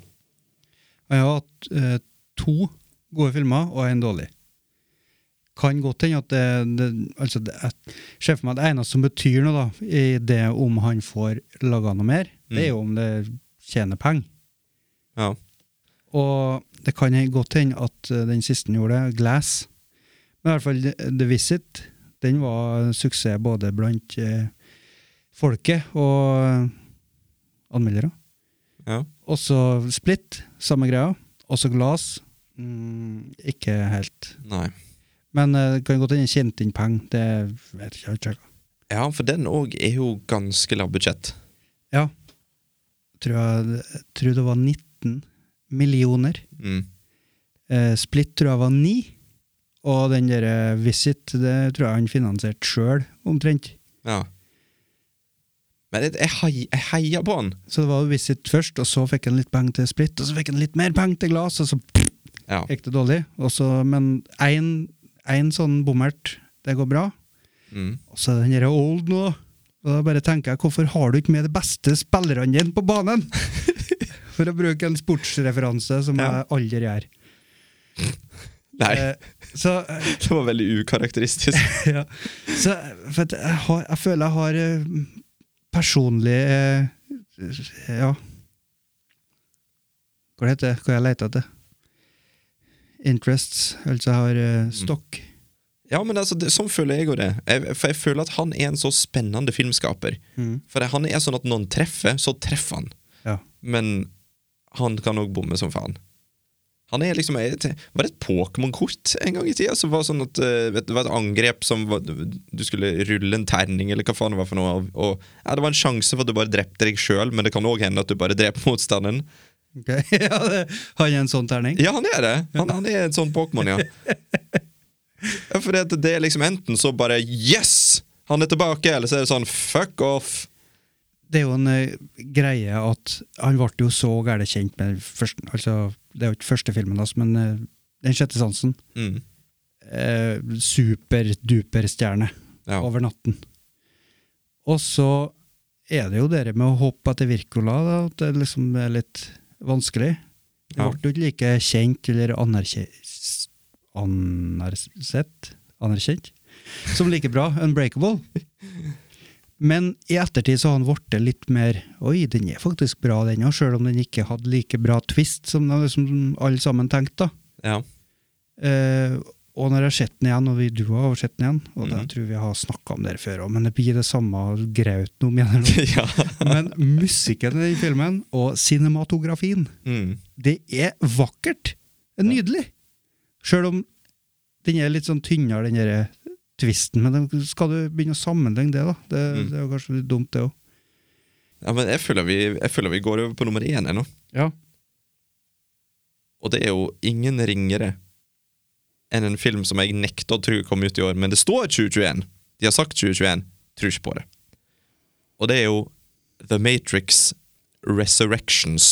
J: Og jeg har hatt eh, to gode filmer og en dårlig. Kan godt hende at det, det, altså det jeg ser for meg at det eneste som betyr noe, da, i det om han får laga noe mer,
K: Mm.
J: det er jo om det tjener penger.
K: Ja.
J: Og det kan godt hende at eh, den siste han gjorde, Glass Men i hvert fall The- The Visit, den var en suksess både blant eh, folket og eh, anmeldere.
K: ja.
J: Og så Split, samme greia. Og så Glass. Mm, ikke helt.
K: Nei.
J: Men eh, det kan godt hende tjent inn penger. Det vet jeg ikke. jeg har ikke sjekket.
K: Ja, for den òg er jo ganske lav budsjett.
J: Ja. Tror jeg, jeg tror det var 19 millioner.
K: Mm.
J: Eh, Split tror jeg var 9. Og den der eh, Visit det tror jeg han finansierte sjøl, omtrent.
K: Ja. Men jeg, jeg, hei, jeg heier på han.
J: Så det var jo Visit først, og så fikk han litt penger til Split, og så fikk han litt mer penger til Glass, og så pff,
K: Ja.
J: gikk det dårlig. Og så- men én sånn bommert, det går bra.
K: Mm.
J: Og så er den der old nå. Og da bare tenker jeg, hvorfor har du ikke med de beste spillerne dine på banen? For å bruke en sportsreferanse som
K: Ja.
J: jeg aldri gjør.
K: Nei,
J: Eh, så, eh,
K: det var veldig ukarakteristisk.
J: ja. så for at jeg, har, jeg føler jeg har eh, personlig eh, Ja. Hva heter det? Hva jeg leter etter? Interests. Altså jeg har eh, stokk.
K: Ja, men altså, det, Sånn føler jeg jo det. Jeg, for jeg føler at han er en så spennende filmskaper. For han er sånn at når han treffer, så treffer han.
J: Ja.
K: Men han kan òg bomme som faen. Han er liksom jeg, te- Var det et Pokémon-kort en gang i tida? Som var sånn at eh, vet, du, Det var et angrep som var, Du skulle rulle en terning, eller hva faen det var for noe. Og, og, ja, det var en sjanse for at du bare drepte deg sjøl, men det kan òg hende at du bare dreper motstanderen.
J: Ok. ja, det- har jeg en sånn terning?
K: Ja, han er det. Han, han er en sånn Pokémon, ja. ja for det, det er liksom enten så bare Yes! Han er tilbake, eller så er det sånn fuck off.
J: det er jo en eh, greie at han ble jo så gærent kjent med først, altså, Det er jo ikke første filmen hans, men eh, Den sjette sansen.
K: Mm.
J: Eh, Superduperstjerne
K: Ja.
J: over natten. Og så er det jo det med å hoppe etter Wirkola, da, at det liksom er litt vanskelig. Det
K: Ja.
J: ble jo ikke like kjent eller anerkjent Anersett? Anerkjent? Som like bra Unbreakable. Men i ettertid så har han blitt litt mer Oi, den er faktisk bra, den òg, sjøl om den ikke hadde like bra twist som de liksom alle sammen tenkte. da.
K: Ja.
J: Eh, og når jeg har sett den igjen, og vi, du har sett den igjen, og
K: Mhm.
J: det tror jeg vi har snakka om det før òg, men det blir det samme grauten om igjen. eller noe.
K: ja.
J: Men musikken i den filmen, og cinematografien,
K: Mm.
J: det er vakkert. Det er nydelig. Sjøl om Den er litt sånn tynnere, den derre tvisten, men den, skal du begynne å sammenligne det, da? Det,
K: Mm.
J: det er jo kanskje litt dumt, det òg.
K: Ja, men jeg føler, vi, jeg føler vi går over på nummer én ennå.
J: Ja.
K: Og det er jo ingen ringere enn en film som jeg nekter å tro kom ut i år, men det står 2021. De har sagt 2021. Tror ikke på det. Og det er jo The Matrix Resurrections.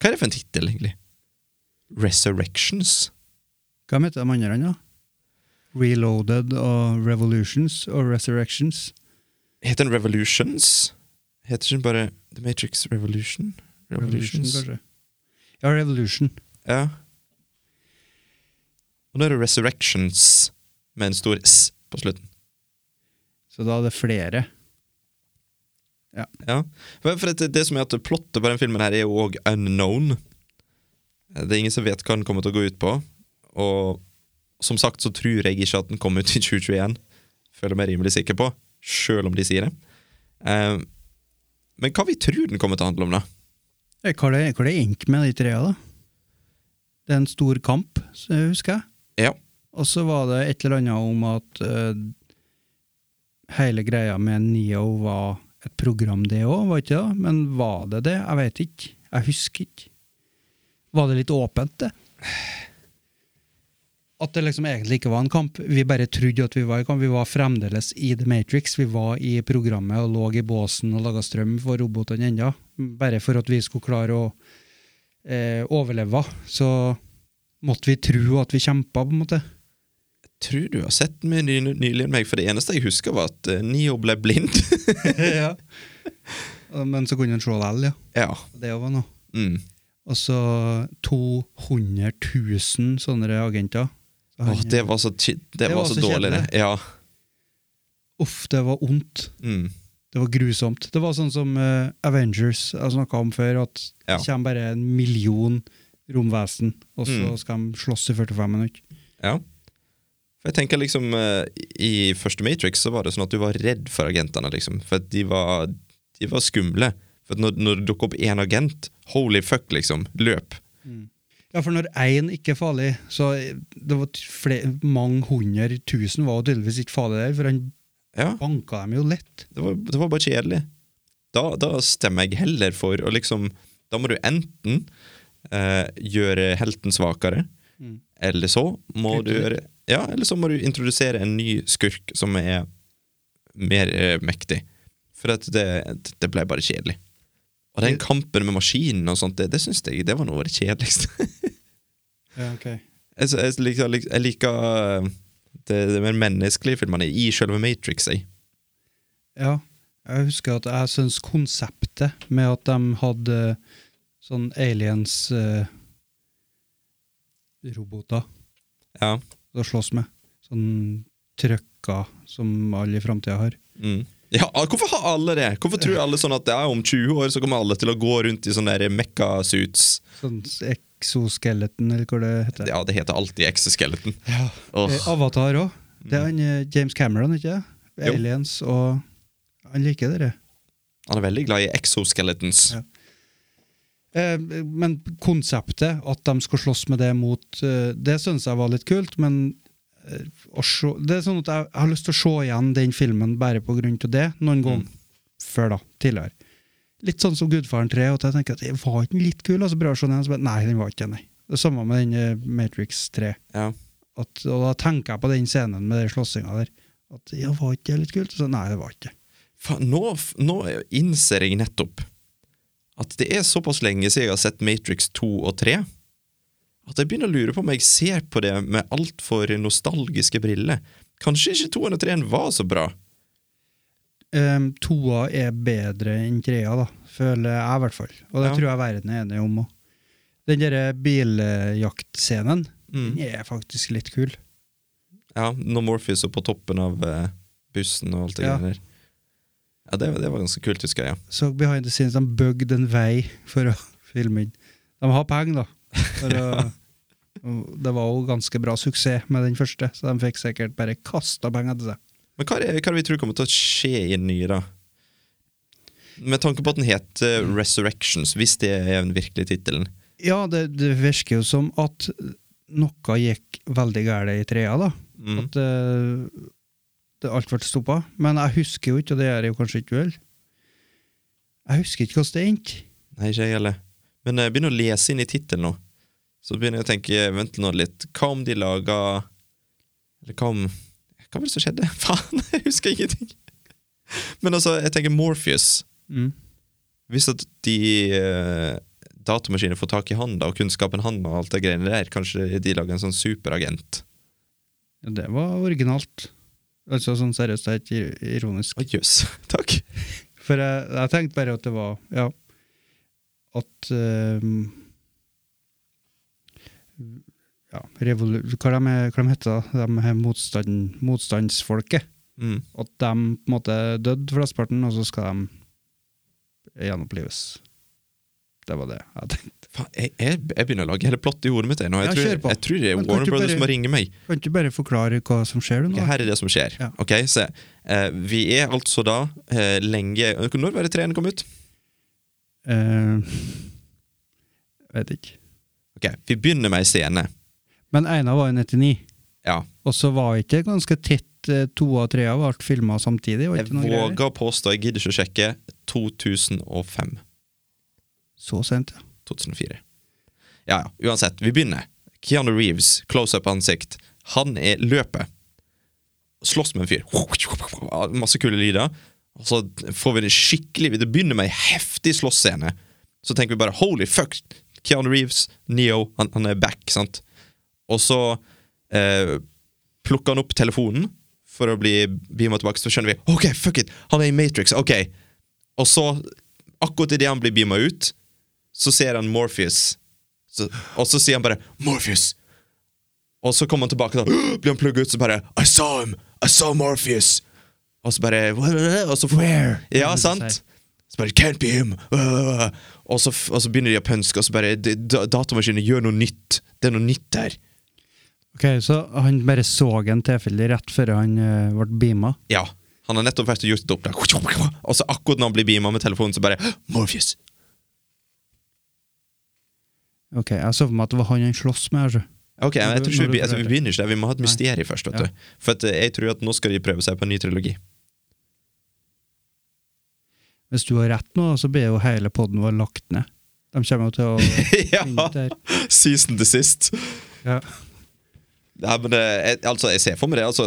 K: Hva er det for en tittel, egentlig? Resurrections?
J: Hva heter de andre, da? Reloaded og Revolutions og Resurrections.
K: Heter den Revolutions? Heter den ikke bare The Matrix Revolution?
J: Revolution,
K: Revolutions?
J: kanskje. Ja, Revolution.
K: Ja. Og nå er det Resurrections med en stor S på slutten.
J: Så da er det flere.
K: Ja. For for det, det som er at plottet på den filmen her er jo òg unknown. Det er ingen som vet hva den kommer til å gå ut på. Og som sagt så tror jeg ikke at den kommer ut i 2021. Føler meg rimelig sikker på, sjøl om de sier det. Eh, men hva vi tror den kommer til å handle om, da?
J: Eh, Hva er det, hva er det endte med, de trea, da? Det er en stor kamp, så jeg husker jeg.
K: Ja.
J: Og så var det et eller annet om at eh, hele greia med Neo var et program, det òg, var ikke det? Men var det det? Jeg vet ikke. Jeg husker ikke. Var det litt åpent, det? At det liksom egentlig ikke var en kamp. Vi bare trodde at vi var i kamp. Vi var fremdeles i The Matrix. Vi var i programmet og lå i båsen og laga strøm for robotene ennå. Bare for at vi skulle klare å eh, overleve, så måtte vi tro at vi kjempa, på en måte.
K: Tror du har sett den mer ny- nylig enn meg, for det eneste jeg husker, var at eh, Neo ble blind.
J: ja. Men så kunne han se likevel, ja.
K: ja.
J: Det var noe.
K: Mm.
J: Og så 200 000 sånne agenter. Så han-
K: Åh, det var så, chi- det var så, dårlig, det.
J: kjedelig.
K: Ja.
J: Uff, det var ondt.
K: Mm.
J: Det var grusomt. Det var sånn som eh, Avengers jeg snakka om før, at
K: Ja.
J: det kommer bare en million romvesen, og så
K: Mm.
J: skal de slåss i 45 minutter.
K: Ja. For jeg tenker liksom eh, I første Matrix så var det sånn at du var redd for agentene, liksom. For at de var, de var skumle. For at når, når det dukket opp én agent, holy fuck, liksom. Løp.
J: Ja, for når én ikke er farlig, så eh, det var t- fle- mange hundre tusen var jo tydeligvis ikke farlig der, for han
K: Ja,
J: banka dem jo lett.
K: det var, det var bare kjedelig. Da, da stemmer jeg heller for å liksom Da må du enten eh, gjøre helten svakere,
J: Mm.
K: eller så må
J: Kutte
K: du gjøre Ja, eller så må du introdusere en ny skurk som er mer eh, mektig. For at det, det ble bare kjedelig. Og den kampen med maskinen og sånt, det, det syns jeg det var noe av det kjedeligste.
J: Ja, ok.
K: jeg, s- jeg liker, lik- jeg liker eh, det, det mer menneskelige filmene i selve Matrix. Jeg.
J: Ja, jeg husker at jeg syns konseptet med at de hadde sånn aliens eh, roboter
K: Ja.
J: å slåss med. Sånn trøkker som alle i framtida har.
K: Mm. Ja, al- Hvorfor har alle det? Hvorfor tror alle sånn at ja, om 20 år så kommer alle til å gå rundt i sånne der mekka-suits?
J: Sånn exoskeleton, eller hva det heter.
K: Ja, det heter alltid exoskeleton.
J: Ja.
K: Åh.
J: Eh, Avatar òg. Det er han eh, James Cameron, ikke det?
K: Mm. Jo.
J: Aliens og Han liker det. det.
K: Han er veldig glad i exoskeletons.
J: Ja. Eh, men konseptet, at de skal slåss med det mot eh, Det syns jeg var litt kult, men eh, å se, det er sånn at jeg, jeg har lyst til å se igjen den filmen bare på grunn av det, noen gang før, da. Tidligere. Litt sånn som Gudfaren 3, og at jeg tenker at det var ikke den litt kul? Og så prøver jeg å se den, igjen, og så bare Nei, den var ikke det, nei. Det samme med den eh, Matrix 3.
K: Ja.
J: At, og da tenker jeg på den scenen med den slåssinga der. At ja, var ikke det litt kult? Og Så, nei, det var ikke det.
K: Faen, nå, f- nå innser jeg nettopp at det er såpass lenge siden jeg har sett Matrix 2 og 3, at jeg begynner å lure på om jeg ser på det med altfor nostalgiske briller. Kanskje ikke 2 og 3 var så bra.
J: Um, toa er bedre enn trea, da, føler jeg i hvert fall. Og det
K: Ja.
J: tror jeg verden er enig om òg. Den derre biljaktscenen
K: Mm.
J: den er faktisk litt kul.
K: Ja, når Morpheus er på toppen av eh, bussen og alt det
J: Ja.
K: greiene der. Ja, det, det var ganske kult, husker jeg. ja.
J: Så behind the scenes, de bygde en vei for å filme inn. De har penger, da. For å, og det var jo ganske bra suksess med den første, så de fikk sikkert bare kasta penger til seg.
K: Men hva er, det- hva er det vi tror kommer til å skje i den nye, da? Med tanke på at den heter eh, Resurrections, hvis det er den virkelige tittelen.
J: Ja, det, det virker jo som at noe gikk veldig galt i trea, da.
K: Mm.
J: At eh, det alt ble stoppa. Men jeg husker jo ikke, og det gjør jeg jo kanskje ikke vel. Jeg husker ikke hvordan det endte.
K: Nei, ikke jeg heller. Men jeg begynner å lese inn i tittelen nå. Så begynner jeg å tenke eh, Vent nå litt. Hva om de laga Eller hva om Hva var det som skjedde? Faen, jeg husker ingenting! Men altså, jeg tenker Morpheus.
J: Mm.
K: Hvis at de eh, datamaskinene får tak i han da, og kunnskapen han og alt det greiene der, kanskje de lager en sånn superagent?
J: Ja, Det var originalt. Altså sånn seriøst, det er ikke ir- ironisk.
K: Å, jøss. Takk.
J: For jeg, jeg tenkte bare at det var Ja. At ehm, ja, revolu hva, de, er- hva de heter de? De her motstand, motstandsfolket.
K: Mm.
J: At de på en måte døde, flesteparten, og så skal de gjenopplives. Det var det jeg tenkte.
K: Faen, jeg, jeg, jeg begynner å lage hele plott i hodet mitt. jeg Nå. Jeg,
J: Ja, kjør
K: tror,
J: på.
K: jeg tror det er
J: Men kan du
K: Warner Brothers
J: bare-
K: som må ringe meg.
J: Kan du ikke bare forklare hva som skjer?
K: Ok,
J: nå?
K: her er det som skjer.
J: Ja.
K: Ok, se. Eh, vi er altså da eh, lenge Når var det treen kom ut?
J: Eh, vet ikke.
K: Ok, Vi begynner med ei scene.
J: Men Einar var jo 99.
K: Ja.
J: Og så var ikke det ganske tett eh, to av tre av alt filma samtidig. Var
K: Jeg
J: ikke noe greier.
K: våger å påstå, jeg gidder ikke å sjekke, 2005.
J: Så sent, ja.
K: 2004. Ja, ja. Uansett, vi begynner. Keanu Reeves, close up ansikt. Han er løpet. Slåss med en fyr. Masse kule lyder. Og så får vi det skikkelig Det begynner med ei heftig slåssscene. Så tenker vi bare holy fuck, Keanu Reeves, Neo, han, han er back, sant? Og så eh, plukker han opp telefonen for å bli beama tilbake, så skjønner vi OK, fuck it, han er i Matrix, OK. Og så, akkurat idet han blir beama ut, så ser han Morpheus. Så, og så sier han bare 'Morpheus'. Og så kommer han tilbake og blir han plugget ut, så bare 'I saw him! I saw Morpheus!' Og så bare «Hva?» og så får,
J: Where?
K: Ja,
J: Hva vil du si?
K: sant? Så bare 'Can't be him!' Og så, f- og så begynner de å pønske, og så bare de- da- Datamaskinen gjør noe nytt. Det er noe nytt der.
J: Ok, Så han bare så en tilfeldig rett før han eh, ble beama?
K: Ja. Han har nettopp vært og gjort et oppdrag, og så akkurat når han blir beama med telefonen, så bare Morpheus!
J: Ok, Jeg så for meg at det var han han sloss med. Altså.
K: Ok, men jeg tror ikke
J: Når
K: vi,
J: du
K: altså, vi
J: forklarer.
K: begynner ikke der. Vi må ha et mysterium først. vet
J: Ja.
K: du For at, eh, jeg tror at nå skal de prøve seg på en ny trilogi.
J: Hvis du har rett nå, så blir jo hele poden vår lagt ned. De kommer jo til å finne
K: ja!
J: ut det her.
K: Season til sist.
J: Ja.
K: Ja, men det, jeg, altså, jeg ser for meg det. Altså,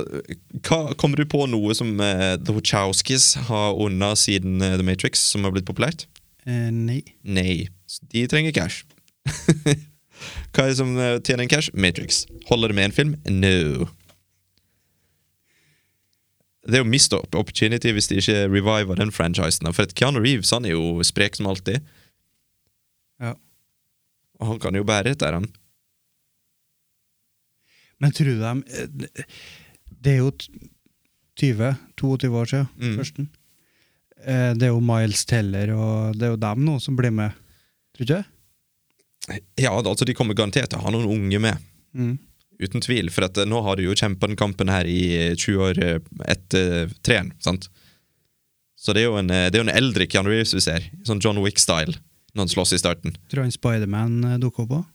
K: hva, kommer du på noe som eh, The Wachowskis har unna siden eh, The Matrix, som har blitt populært?
J: Eh, nei.
K: Nei. Så De trenger cash. hva er det som eh, tjener en cash? Matrix. Holder det med en film? No. Det er jo mist opp- opportunity hvis de ikke reviver den franchisen. da, For at Keanu Reeves han er jo sprek som alltid.
J: Ja.
K: Og han kan jo bære dette, han.
J: Men tror du de eh, det- Det er jo t- 20, 22 år siden
K: Mm.
J: førsten. Eh, Det er jo Miles Teller og det er jo dem nå som blir med. Tror du ikke? det?
K: Ja, altså De kommer garantert til å ha noen unge med.
J: Mm.
K: Uten tvil, for at eh, nå har du jo kjempa den kampen her i eh, 20 år eh, etter eh, treeren. sant? Så det er jo en, eh, det er jo en eldre Keanu Reeves vi ser, sånn John Wick-style, når han slåss i starten.
J: Tror du han Spiderman eh, dukker opp òg?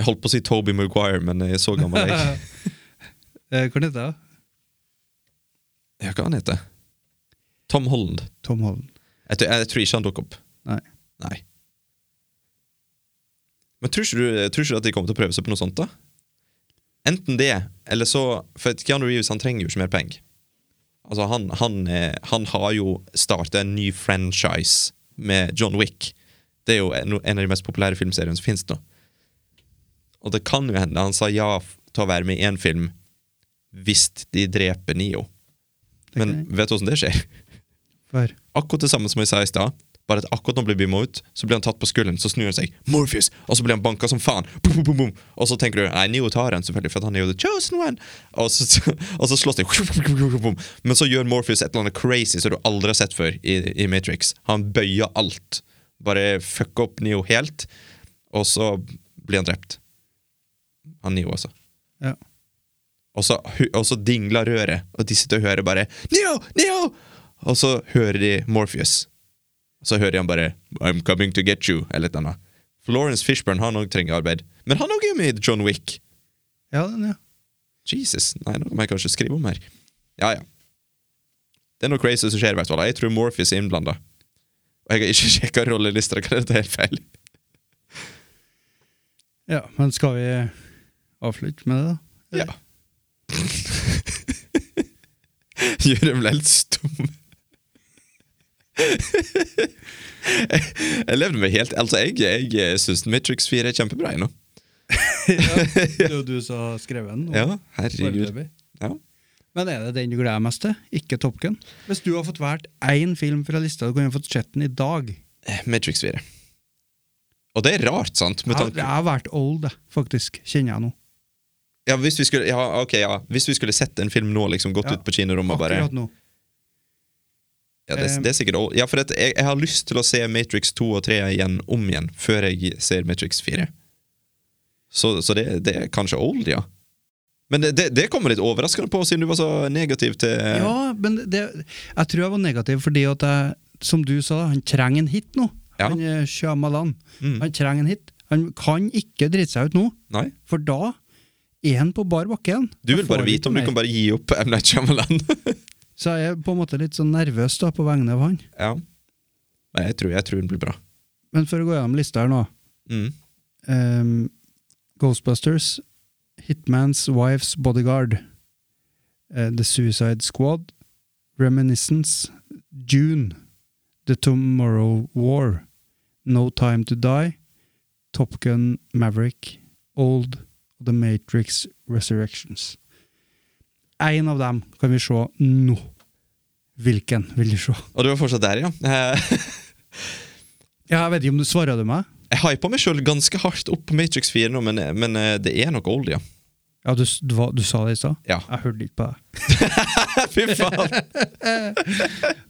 K: Jeg holdt på å si Toby Maguire, men jeg er så gammel er jeg ikke.
J: Eh, Hva heter det?
K: Ja, hva han heter Tom Holland.
J: Tom Holland.
K: Jeg, tror- jeg tror ikke han dukker opp.
J: Nei.
K: Nei. Men tror ikke du, tror ikke du at de kommer til å prøve seg på noe sånt, da? Enten det, eller så For at Keanu Reeves han trenger jo ikke mer penger. Altså, han, han, eh, han har jo starta en ny franchise med John Wick. Det er jo en, en av de mest populære filmseriene som finnes nå. Og det kan jo hende han sa ja f- til å være med i én film hvis de dreper Nio. Men
J: kan
K: vet du åssen det skjer?
J: For
K: akkurat det samme som jeg sa i stad. Bare at akkurat når han blir beama ut, så blir han tatt på skulderen, så snur han seg, Morpheus, og så blir han banka som faen. Boom, boom, boom, boom. Og så tenker du nei, Neo tar den, selvfølgelig, for at han er jo the chosen one. Og så, og så slåss de. Men så gjør Morpheus et eller annet crazy som du aldri har sett før i, i Matrix. Han bøyer alt. Bare fucker opp Neo helt, og så blir han drept. Han Neo, altså.
J: ja.
K: Og så, hu- og så dingler røret, og de sitter og hører bare Neo! Neo! Og så hører de Morpheus. Og så hører han bare I'm coming to get you, eller et eller annet. Florence Fishburne han òg trenger arbeid. Men han òg er jo med i John Wick.
J: Ja, den, ja.
K: Jesus. Nei, nå må jeg kanskje skrive om her. Ja, ja. Det er noe crazy som skjer, i hvert fall. Jeg tror Morpheus er innblanda. Og jeg har ikke sjekka rollelista. Kan dette er helt feil?
J: ja. Men skal vi avslutte med det, da?
K: Ja. Jørgen ble helt stum. jeg, jeg levde meg helt Altså, jeg, jeg syns Matrix 4 er kjempebra ennå.
J: Det er jo du som har skrevet den. og-
K: Ja, herregud.
J: Mm. foreløpig.
K: Ja.
J: Men er det den du gleder deg mest til? Ikke Top Gun? Hvis du har fått valgt én film fra lista, du kunne fått sett den i dag.
K: Matrix 4. Og det er rart, sant? Med
J: Jeg,
K: tanke
J: jeg har vært old, jeg, faktisk. Kjenner jeg nå.
K: ja, hvis vi skulle, ja, ok, ja. Hvis vi skulle sett en film nå, liksom gått
J: Ja,
K: ut på kinorommet og bare
J: Akkurat nå.
K: ja, det, det er sikkert all- Ja, for at jeg, jeg har lyst til å se Matrix 2 og 3 igjen om igjen før jeg ser Matrix 4. Så, så det, det er kanskje old, ja. Men det, det, det kommer litt overraskende på, siden du var så negativ til
J: Ja, men det, jeg tror jeg var negativ fordi at jeg, som du sa, han trenger en hit nå.
K: Ja.
J: Han eh, Shyamalan.
K: Mm.
J: Han trenger en hit. Han kan ikke drite seg ut nå,
K: Nei?
J: for da er han på bar bakke igjen.
K: Du
J: Da
K: vil bare
J: får vi
K: vite om
J: ikke
K: du kan
J: mer.
K: bare gi opp M. Night Shyamalan.
J: Så jeg er på en måte litt sånn nervøs da, på vegne av han.
K: ja. Nei, jeg tror, jeg tror den blir bra.
J: Men for å gå gjennom lista her nå.
K: Mm.
J: Ehm, Ghostbusters, Hitman's Wife's Bodyguard, eh, The Suicide Squad, Reminiscence, June, The Tomorrow War, No Time to Die, Top Gun Maverick, Old og The Matrix Resurrections. En av dem kan vi se nå. Hvilken vil du se?
K: Og du var fortsatt der, ja. Eh,
J: Ja, jeg vet ikke om du svarer du meg?
K: Jeg hypa meg sjøl ganske hardt opp på Matrix 4 nå, men, men eh, det er nok old, ja.
J: Ja, du, s- du, var- du sa det i stad?
K: Ja.
J: Jeg hørte ikke på deg.
K: Fy faen!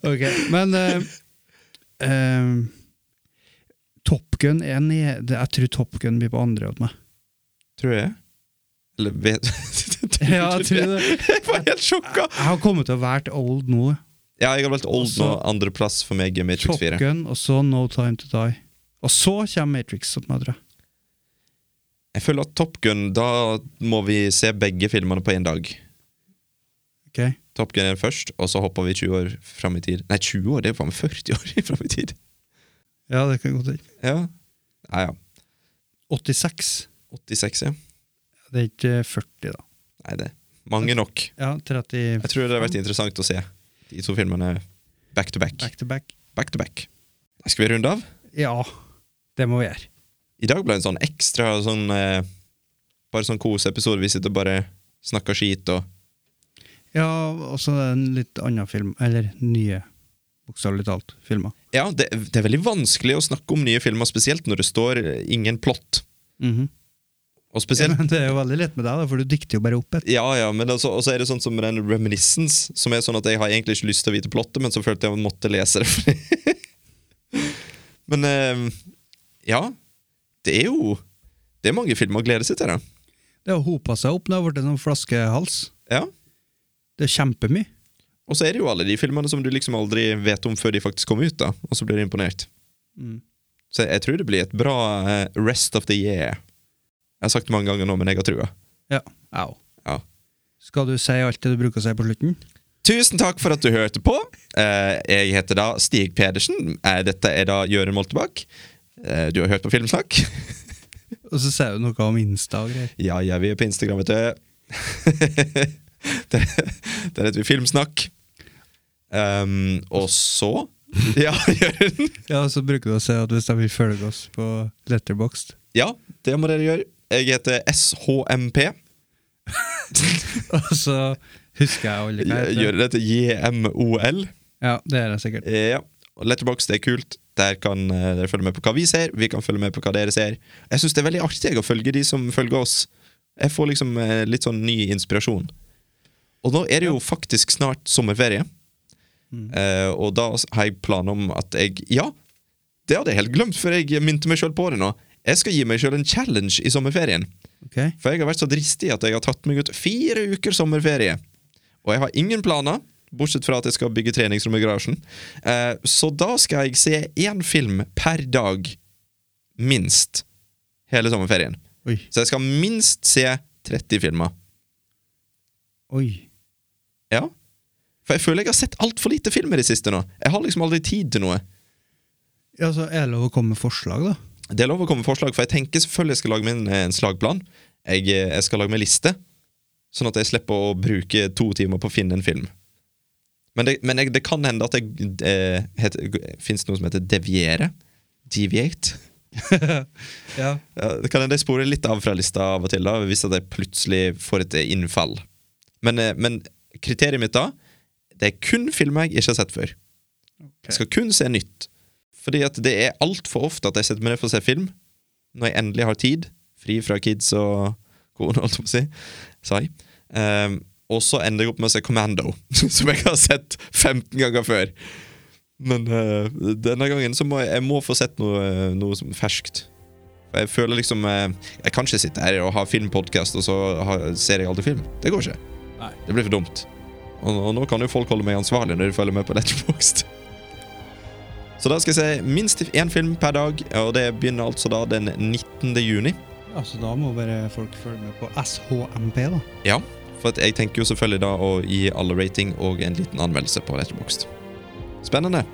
J: Ok, men eh, eh, Top Gun er nede Jeg tror Top Gun blir på andre hos meg.
K: Tror jeg. Eller vet
J: Ja, jeg tror det.
K: Jeg var helt sjokka!
J: Jeg har kommet til å være old nå.
K: Ja, jeg har valgt Old
J: Også-
K: nå. Andreplass for meg er Matrix
J: Top
K: 4.
J: Gun, og så No Time To Die. Og så kommer Matrix. Sånn, jeg tror. jeg.
K: Jeg føler at Top Gun, da må vi se begge filmene på én dag.
J: Ok,
K: Top Gun er først, og så hopper vi 20 år fram i tid. Nei, 20 år? Det er jo faen meg 40 år fram i tid!
J: Ja, det kan godt hende.
K: Ja. ja, ja.
J: 86.
K: 86, ja.
J: Det er ikke 40, da.
K: Nei, det Mange nok.
J: Ja, 30
K: Jeg tror det har vært interessant å se de to filmene back to back.
J: back to back.
K: Back to back. Skal vi runde av?
J: Ja, det må vi gjøre.
K: I dag ble det en sånn ekstra sånn eh, Bare sånn koseepisode. Vi sitter og bare snakker skit og
J: Ja, og så er det en litt annen film. Eller nye, bokstavelig talt, filmer.
K: Ja, det, det er veldig vanskelig å snakke om nye filmer, spesielt når det står eh, ingen plott.
J: Mhm.
K: Og
J: Ja,
K: spesielt
J: men det er jo veldig lett med deg, da, for du dikter jo bare opp et.
K: Ja, ja, men altså, og så er det sånn som den reminiscence, som er sånn at jeg har egentlig ikke lyst til å vite plottet, men så følte jeg at jeg måtte lese det. men eh, ja. Det er jo Det er mange filmer å glede seg til, da.
J: Det har hopa seg opp, det har blitt en sånn flaskehals.
K: Ja.
J: Det er kjempemye.
K: Og så er det jo alle de filmene som du liksom aldri vet om før de faktisk kommer ut, da, og så blir du imponert.
J: Mm.
K: Så jeg tror det blir et bra eh, rest of the year. Jeg har sagt det mange ganger nå, men jeg har trua.
J: Ja. Au.
K: Ja.
J: Skal du si alt det du bruker å si på slutten?
K: Tusen takk for at du hørte på. Eh, jeg heter da Stig Pedersen. Eh, dette er da Jørund Moltebakk. Eh, du har hørt på Filmsnakk?
J: Og så sier du noe om Insta og greier.
K: Ja, ja, vi er på Instagram, vet du. der, der heter vi Filmsnakk. Um, og så Ja, Jørund.
J: Ja, så bruker du å si at hvis de vil følge oss på Letterboxd
K: Ja, det må dere gjøre. Jeg heter SHMP.
J: Og så husker jeg aldri hva jeg heter.
K: Gjør dette JMOL.
J: Ja, det er jeg sikkert.
K: Ja. Og Letterbox, det er kult. Der kan eh, dere følge med på hva vi ser. Vi kan følge med på hva dere ser. Jeg syns det er veldig artig jeg, å følge de som følger oss. Jeg får liksom eh, litt sånn ny inspirasjon. Og nå er det jo faktisk snart sommerferie.
J: Mm.
K: Eh, og da har jeg planer om at jeg Ja, det hadde jeg helt glemt før jeg minte meg sjøl på det nå. Jeg skal gi meg sjøl en challenge i sommerferien.
J: Ok?
K: For jeg har vært så dristig at jeg har tatt meg ut fire uker sommerferie. Og jeg har ingen planer, bortsett fra at jeg skal bygge treningsrom i garasjen. Eh, så da skal jeg se én film per dag minst hele sommerferien.
J: Oi.
K: Så jeg skal minst se 30 filmer.
J: Oi.
K: Ja. For jeg føler jeg har sett altfor lite film i det siste nå. Jeg har liksom aldri tid til noe.
J: Ja, så er det lov å komme med forslag, da?
K: Det er lov å komme med forslag, for jeg tenker selvfølgelig jeg skal lage meg en, en slagplan. Jeg, eh, jeg skal lage meg en liste, sånn at jeg slipper å bruke to timer på å finne en film. Men det, men jeg, det kan hende at jeg eh, heter, Fins det noe som heter deviere? Deviate?
J: Ja.
K: Ja, det kan hende jeg sporer litt av fra lista av og til, da, hvis at jeg plutselig får et innfall. Men, eh, men kriteriet mitt da Det er kun filmer jeg ikke har sett før. Jeg skal kun se nytt. Fordi at det er altfor ofte at jeg setter meg ned for å se film når jeg endelig har tid, fri fra kids og kone, holdt jeg på å si. Sorry. Ehm, og så ender jeg opp med å se Commando, som jeg har sett 15 ganger før. Men eh, denne gangen så må jeg, jeg må få sett noe, eh, noe som ferskt. Jeg føler liksom eh, Jeg kan ikke sitte her og ha filmpodkast, og så har, ser jeg aldri film. Det går ikke.
B: Nei.
K: Det blir for dumt. Og, og nå kan jo folk holde meg ansvarlig når de følger med på Letterboxd. Så da skal jeg se minst én film per dag, og det begynner altså da den 19. juni.
J: Altså, da må bare folk følge med på SHMP, da.
K: Ja, for at jeg tenker jo selvfølgelig da å gi alle rating og en liten anmeldelse på Letterboxd. Spennende.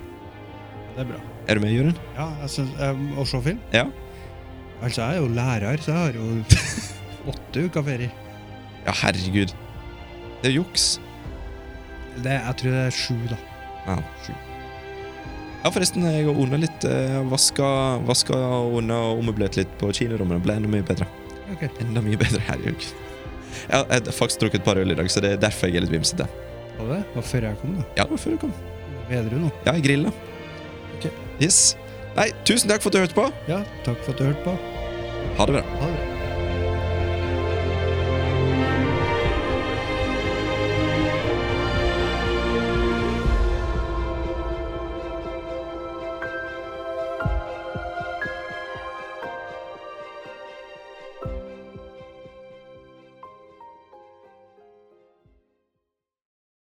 J: Det er bra.
K: Er du med, Jørund?
J: Ja, jeg synes, um, Å se film?
K: Ja.
J: Altså, jeg er jo lærer, så jeg har jo åtte uker ferie.
K: Ja, herregud. Det er juks.
J: Det, jeg tror det er sju, da.
K: Ja, sju. Ja, forresten, jeg har ordna litt. eh, Vaska, vaska og ordna og ommøblert litt på kinorommet. Det Ble enda mye bedre.
J: Ok.
K: Enda mye bedre her i uken. Jeg har- jeg har faktisk drukket et par øl i dag, så det er derfor jeg er litt vimsete.
J: Var det? det var før jeg kom, da.
K: Ja, det var før du kom.
J: Bedre nå.
K: Ja, jeg grilla.
J: Ok.
K: Yes. Nei, tusen takk for at du hørte på.
J: Ja, takk for at du hørte på.
K: Ha det bra.
J: Ha det bra.